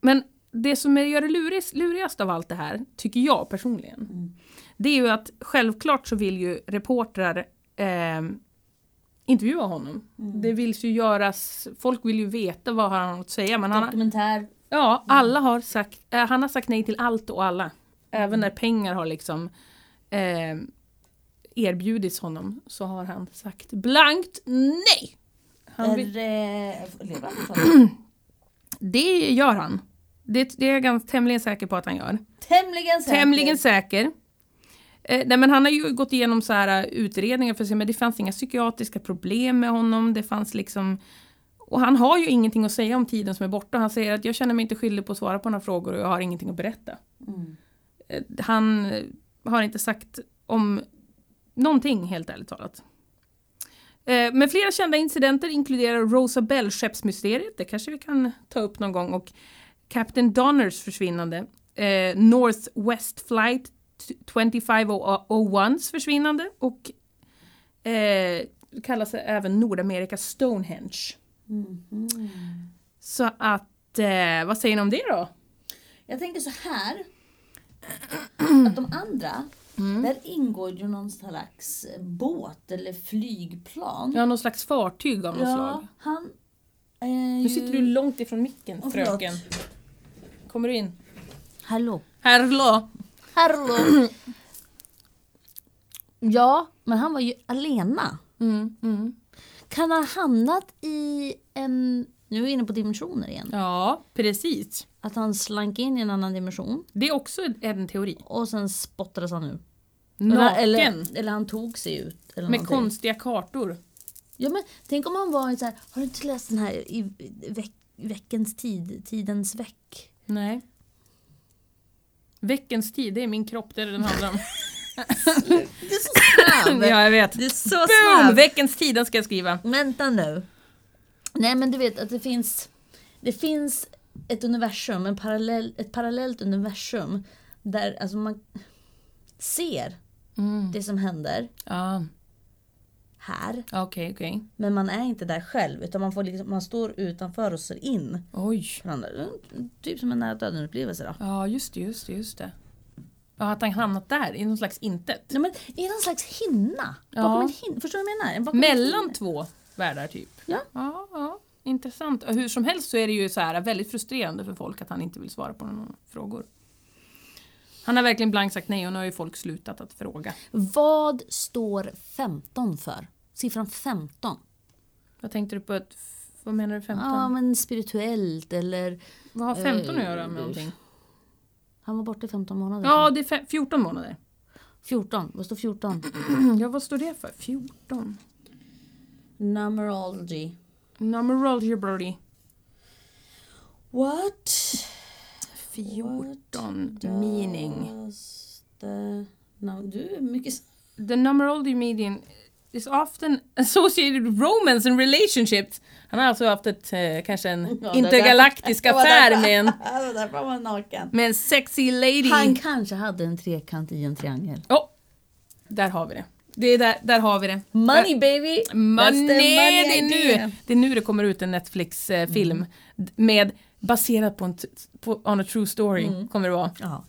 S1: men det som är, gör det lurigast, lurigast av allt det här, tycker jag personligen, det är ju att självklart så vill ju reportrar eh, intervjua honom. Det vill ju göras, folk vill ju veta vad han har att säga. Men han,
S3: Dokumentär.
S1: Ja, alla har sagt, eh, han har sagt nej till allt och alla. Även när pengar har liksom eh, erbjudits honom så har han sagt blankt nej. Han vill,
S3: Är, lever han
S1: det gör han. Det, det är jag ganska, tämligen säker på att han gör.
S3: Tämligen säker.
S1: Tämligen säker. Eh, nej, men han har ju gått igenom så här eh, utredningar för att se, men det fanns inga psykiatriska problem med honom. Det fanns liksom... Och han har ju ingenting att säga om tiden som är borta. Han säger att jag känner mig inte skyldig på att svara på några frågor och jag har ingenting att berätta. Eh, Han eh, har inte sagt om någonting helt ärligt talat. Eh, Men flera kända incidenter inkluderar Rosa Bell-skeppsmysteriet, det kanske vi kan ta upp någon gång, och Captain Donners försvinnande, eh, Northwest Flight 2501 försvinnande och eh, kallas även Nordamerika Stonehenge.
S3: Mm-hmm.
S1: Så att, eh, vad säger ni om det då?
S3: Jag tänker så här. Att de andra,
S1: Mm.
S3: där ingår ju någon slags båt eller flygplan.
S1: Ja, någon slags fartyg av något slag.
S3: han eh, är
S1: Nu
S3: ju...
S1: sitter du långt ifrån micken,
S3: Åh, förlåt.
S1: fröken. Kommer du in?
S3: Hallå.
S1: Hallå!
S3: Hallå. ja, men han var ju alena.
S1: Mm, mm.
S3: Kan han ha hamnat i en... Nu är vi inne på dimensioner igen.
S1: Ja, precis.
S3: Att han slank in i en annan dimension
S1: Det är också en- en teori.
S3: och sen spottades han ur.
S1: Naken.
S3: Eller, eller han tog sig ut. Eller
S1: med
S3: någonting.
S1: konstiga kartor.
S3: Ja, men tänk om han var en så här, har du inte läst den här i i veck, veckans tid, tidens veck?
S1: Nej. Veckens tid, det är min kropp, det är det den handlar om.
S3: Det är så snabb!
S1: ja, jag vet.
S3: Det är så
S1: Boom!
S3: snabbt!
S1: Veckens tid, den ska jag skriva.
S3: Vänta nu. Nej men du vet att det finns, det finns ett universum, en parallell, ett parallellt universum där alltså man ser det som händer
S1: Ja,
S3: här.
S1: okej, okej.
S3: Men man är inte där själv utan man, får liksom, man står utanför och ser in.
S1: Oj.
S3: på varandra. Typ som en nära döden upplevelse då.
S1: Ja, just det, just det, just det. Ja, att han hamnat där, i någon slags intet.
S3: Nej, men det är någon slags hinna.
S1: Ja.
S3: Bakom en hinna. Förstår du vad jag menar? En Bakom en
S1: Mellan två världar typ.
S3: Ja.
S1: ja, ja. Intressant. Och Hur som helst så är det ju så här väldigt frustrerande för folk att han inte vill svara på några frågor. Han har verkligen blankt sagt nej och nu har ju folk slutat att fråga.
S3: Vad står 15 för? Siffran 15?
S1: Vad tänkte du på? Att, vad menar du 15?
S3: Ja, men spirituellt eller...
S1: vad har 15 att göra med någonting?
S3: Han var borta i 15 månader.
S1: Ja, det är fe- 14 månader.
S3: 14. Vad står 14?
S1: Ja, vad står det för? 14?
S3: Numerology.
S1: Numerology brody.
S3: What?
S1: 14 meaning.
S3: The... No, du är mycket...
S1: The numerology median is often associated with romance and relationships. Han har alltså haft ett, eh, kanske en
S3: Ja, det
S1: intergalaktisk
S3: där- det var
S1: affär med en,
S3: Alltså, där var man naken.
S1: med en sexy lady.
S3: Han kanske hade en trekant i en triangel.
S1: Oh, där har vi det. det är där, där har vi det.
S3: Money baby!
S1: Money,
S3: That's the money
S1: det, är
S3: idea.
S1: nu, det är nu det kommer ut en Netflix-film
S3: Mm.
S1: med baserad på en t- på, on a true story.
S3: Mm.
S1: Kommer det vara.
S3: Ja.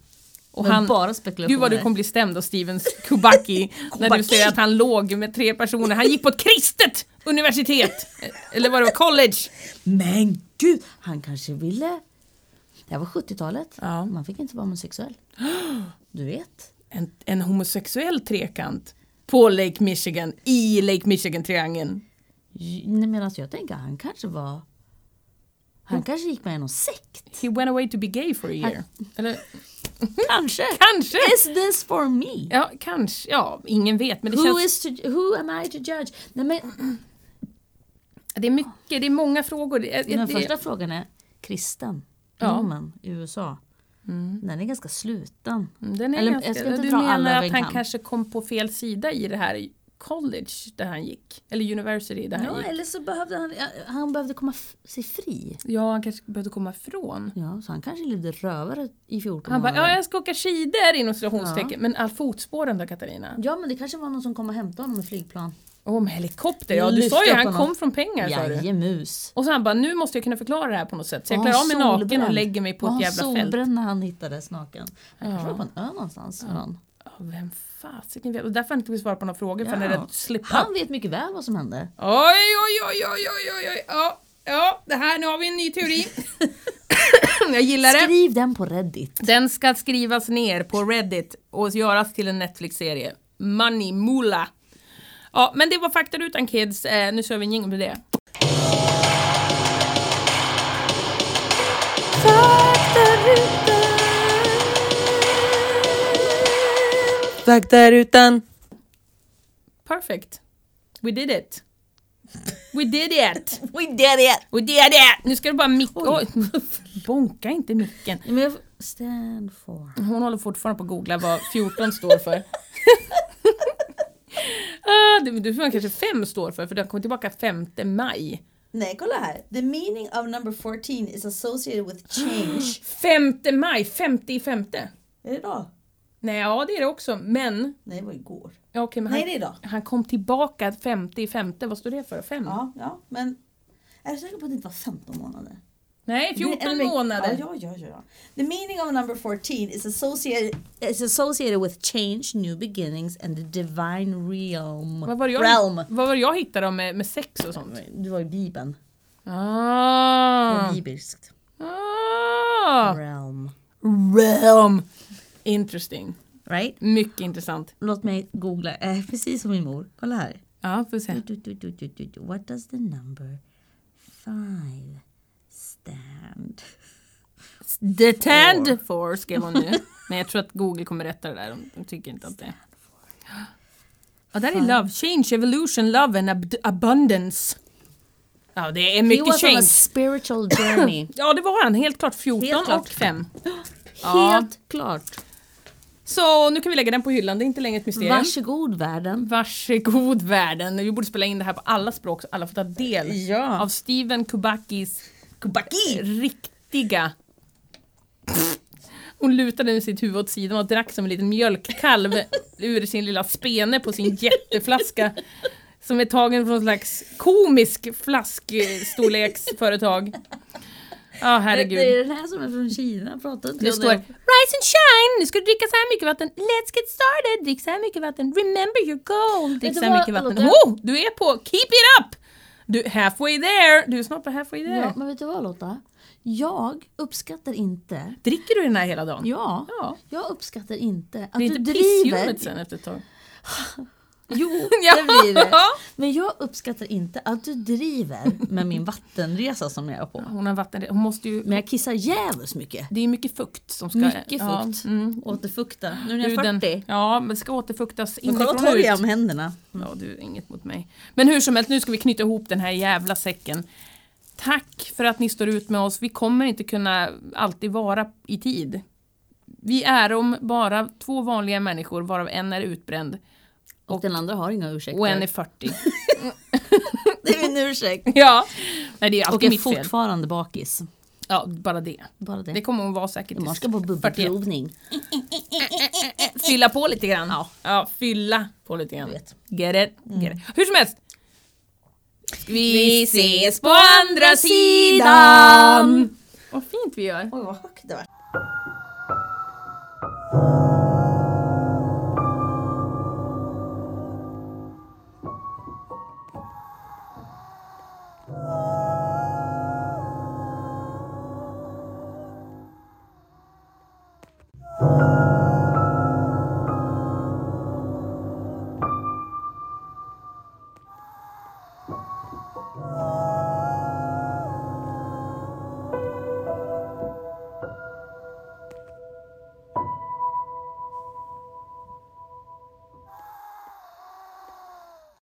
S1: Och
S3: Men
S1: han,
S3: bara
S1: Gud vad du
S3: spekulationer.
S1: kommer bli stämd av Stevens Kubacki när du
S3: Kubacki.
S1: säger att han låg med tre personer. Han gick på ett kristet universitet! Eller vad det var, college!
S3: Men gud! Han kanske ville... Det här var 70-talet.
S1: Ja.
S3: Man fick inte vara homosexuell. Du vet.
S1: En, en homosexuell trekant på Lake Michigan, i Lake Michigan-triangeln.
S3: J- Nej, men alltså jag tänker han kanske var...
S1: Mm.
S3: Han kanske gick med i någon sekt.
S1: He went away to be gay for a year. Eller,
S3: Kanske!
S1: kanske!
S3: Is this for me?
S1: Ja, kanske. Ja, ingen vet. Men det,
S3: Who,
S1: känns,
S3: is to, who am I to judge? Nej, men,
S1: det är mycket, det är många frågor. Det, det,
S3: den
S1: det,
S3: första frågan är kristen.
S1: Ja.
S3: Normen i USA. Den är ganska sluten.
S1: den är
S3: Eller, jag
S1: ganska,
S3: ska inte
S1: du
S3: dra alla
S1: menar
S3: över
S1: att
S3: en
S1: han
S3: kam.
S1: kanske kom på fel sida i det här college där han gick? Eller university där han
S3: Ja,
S1: gick?
S3: eller så behövde han, han behövde komma f- sig fri.
S1: Ja, han kanske behövde komma ifrån.
S3: Ja, så han kanske levde rövare i 14
S1: Han bara,
S3: månader.
S1: ja jag ska åka skidor inom citationstecken. Men all fotspåren då Katarina?
S3: Ja men det kanske var någon som kom och hämtade honom med flygplan.
S1: Och om helikopter, ja
S3: Jag
S1: du sa ju
S3: lyfte upp
S1: han
S3: honom.
S1: kom från pengar sa du.
S3: Jajemus.
S1: Och så han bara, nu måste jag kunna förklara det här på något sätt. Så jag
S3: Var
S1: klär
S3: han
S1: av mig naken och
S3: solbränd?
S1: lägger mig på
S3: Var
S1: ett
S3: han
S1: jävla fält.
S3: solbränd när han hittades naken. Han kanske var på en ö någonstans. Ja.
S1: Ja, vem fasiken vet? Och därför har han inte vill svara på några frågor, för han är
S3: Ja.
S1: rädd slip up.
S3: Han vet mycket väl vad som hände.
S1: Oj, oj, oj, oj, oj, oj, oj. Ja, ja, det här, nu har vi en ny teori. jag gillar det.
S3: Skriv den på Reddit.
S1: Den ska skrivas ner på Reddit och göras till en Netflix-serie. Money Mula. Ja, men det var faktarutan kids. Eh, nu kör vi en jingle med det.
S5: Faktarutan.
S1: Perfect. We did it. We did it!
S3: We did it!
S1: We did it! Nu ska du bara mick... Oj. Bonka inte micken.
S3: Men jag... Stand for.
S1: Hon håller fortfarande på att googla vad 14 står för. ah, det, det får man kanske 5 står för, för den kommer tillbaka 5 maj.
S2: Nej, kolla här. The meaning of number 14 is associated with change.
S1: 5 maj, 50 i femte.
S2: är det idag?
S1: Nej, ja det är det också, men
S2: Nej, det var igår.
S1: Ja, Okej, men
S2: Nej,
S1: han,
S2: det är idag.
S1: han kom tillbaka 50 i femte, vad står det för? Fem?
S2: Ja, ja, men är du säker på att det inte var 15 månader?
S1: Nej, 14
S2: Eller-
S1: månader.
S2: Ja, ja, ja, ja. The meaning of number 14 is associated
S3: It's associated with change, new beginnings and the divine realm.
S1: Vad var det jag,
S3: Realm.
S1: vad var det jag hittade om eh, med, med sex och sånt?
S3: Du var i Bibeln.
S1: Ah.
S3: Bibelskt.
S1: Ah.
S3: Realm.
S1: Realm! Interesting.
S3: Right?
S1: Mycket intressant.
S3: Låt mig googla. Eh, precis som min mor. Kolla här.
S1: Ja, får vi se.
S3: Du, du, du, du, du, du. What does the number five stand?
S1: The Tand for skrev hon nu. Men jag tror att Google kommer rätta det där, de, de tycker inte att det... Ja, där är love. Change, evolution, love and ab- abundance. Ja, det är
S3: He
S1: mycket
S3: was on a
S1: change.
S3: alltså spiritual journey.
S1: Ja det var han, helt klart 14
S3: Helt klart.
S1: och 5.
S3: Helt klart.
S1: Så nu kan vi lägga den på hyllan, det är inte längre ett mysterium.
S3: Varsågod världen.
S1: Varsågod världen, vi borde spela in det här på alla språk så alla får ta del
S3: Ja.
S1: av Steven Kubackis Kubacki. riktiga Hon lutade nu sitt huvud åt sidan och drack som en liten mjölkkalv ur sin lilla spene på sin jätteflaska. Som är tagen från någon slags komisk flaskstorleksföretag. Ja herregud.
S3: Det är den här som är från Kina, pratar inte
S1: Det
S3: jag
S1: står Rise and shine! Nu ska du dricka så här mycket vatten. Let's get started! Drick så här mycket vatten. Remember your goal! Drick
S3: Vet du
S1: så här
S3: vad,
S1: mycket vatten.
S3: Lotta?
S1: Oh, du är på keep it up! Du är halfway there! Du är snart på halfway there.
S3: Ja, men vet du vad Lotta? Jag uppskattar inte,
S1: Dricker du den här hela dagen?
S3: ja,
S1: Ja.
S3: jag uppskattar inte att
S1: Det är
S3: du
S1: inte
S3: driver.
S1: pisshjulet sen efter ett tag.
S3: Jo,
S1: Ja.
S3: det blir det. Men jag uppskattar inte att du driver med min vattenresa som jag är på.
S1: Hon har vatten... Hon måste ju...
S3: Men jag kissar jävligt mycket.
S1: Det är mycket fukt som ska...
S3: Mycket
S1: ja,
S3: fukt.
S1: mm.
S3: Återfukta. Nu när jag är
S1: Huden.
S3: 40.
S1: Ja, men det ska återfuktas
S3: Men kolla
S1: inifrån
S3: vad
S1: och
S3: torr
S1: ut.
S3: jag är om händerna.
S1: Ja, du är inget mot mig. Men hur som helst, nu ska vi knyta ihop den här jävla säcken. Tack för att ni står ut med oss. Vi kommer inte kunna alltid vara i tid. Vi är om bara två vanliga människor, varav en är utbränd
S3: Och, den andra har inga ursäkter.
S1: och en är 40.
S3: Det är min ursäkt.
S1: ja. Nej, det är
S3: Och
S1: alltid
S3: är
S1: mitt fel.
S3: fortfarande bakis.
S1: Ja, bara det.
S3: Bara det.
S1: Det kommer hon vara säkert
S3: Imorgon
S1: tills
S3: ska jag på
S1: 41.
S3: bubbelprovning.
S1: Fylla på lite grann. Ja. fylla på lite grann.
S3: vet.
S1: Get it? Get it. Hur som helst. Mm. Vi, ses på andra sidan! Vad fint vi gör.
S3: Oj vad högt det var.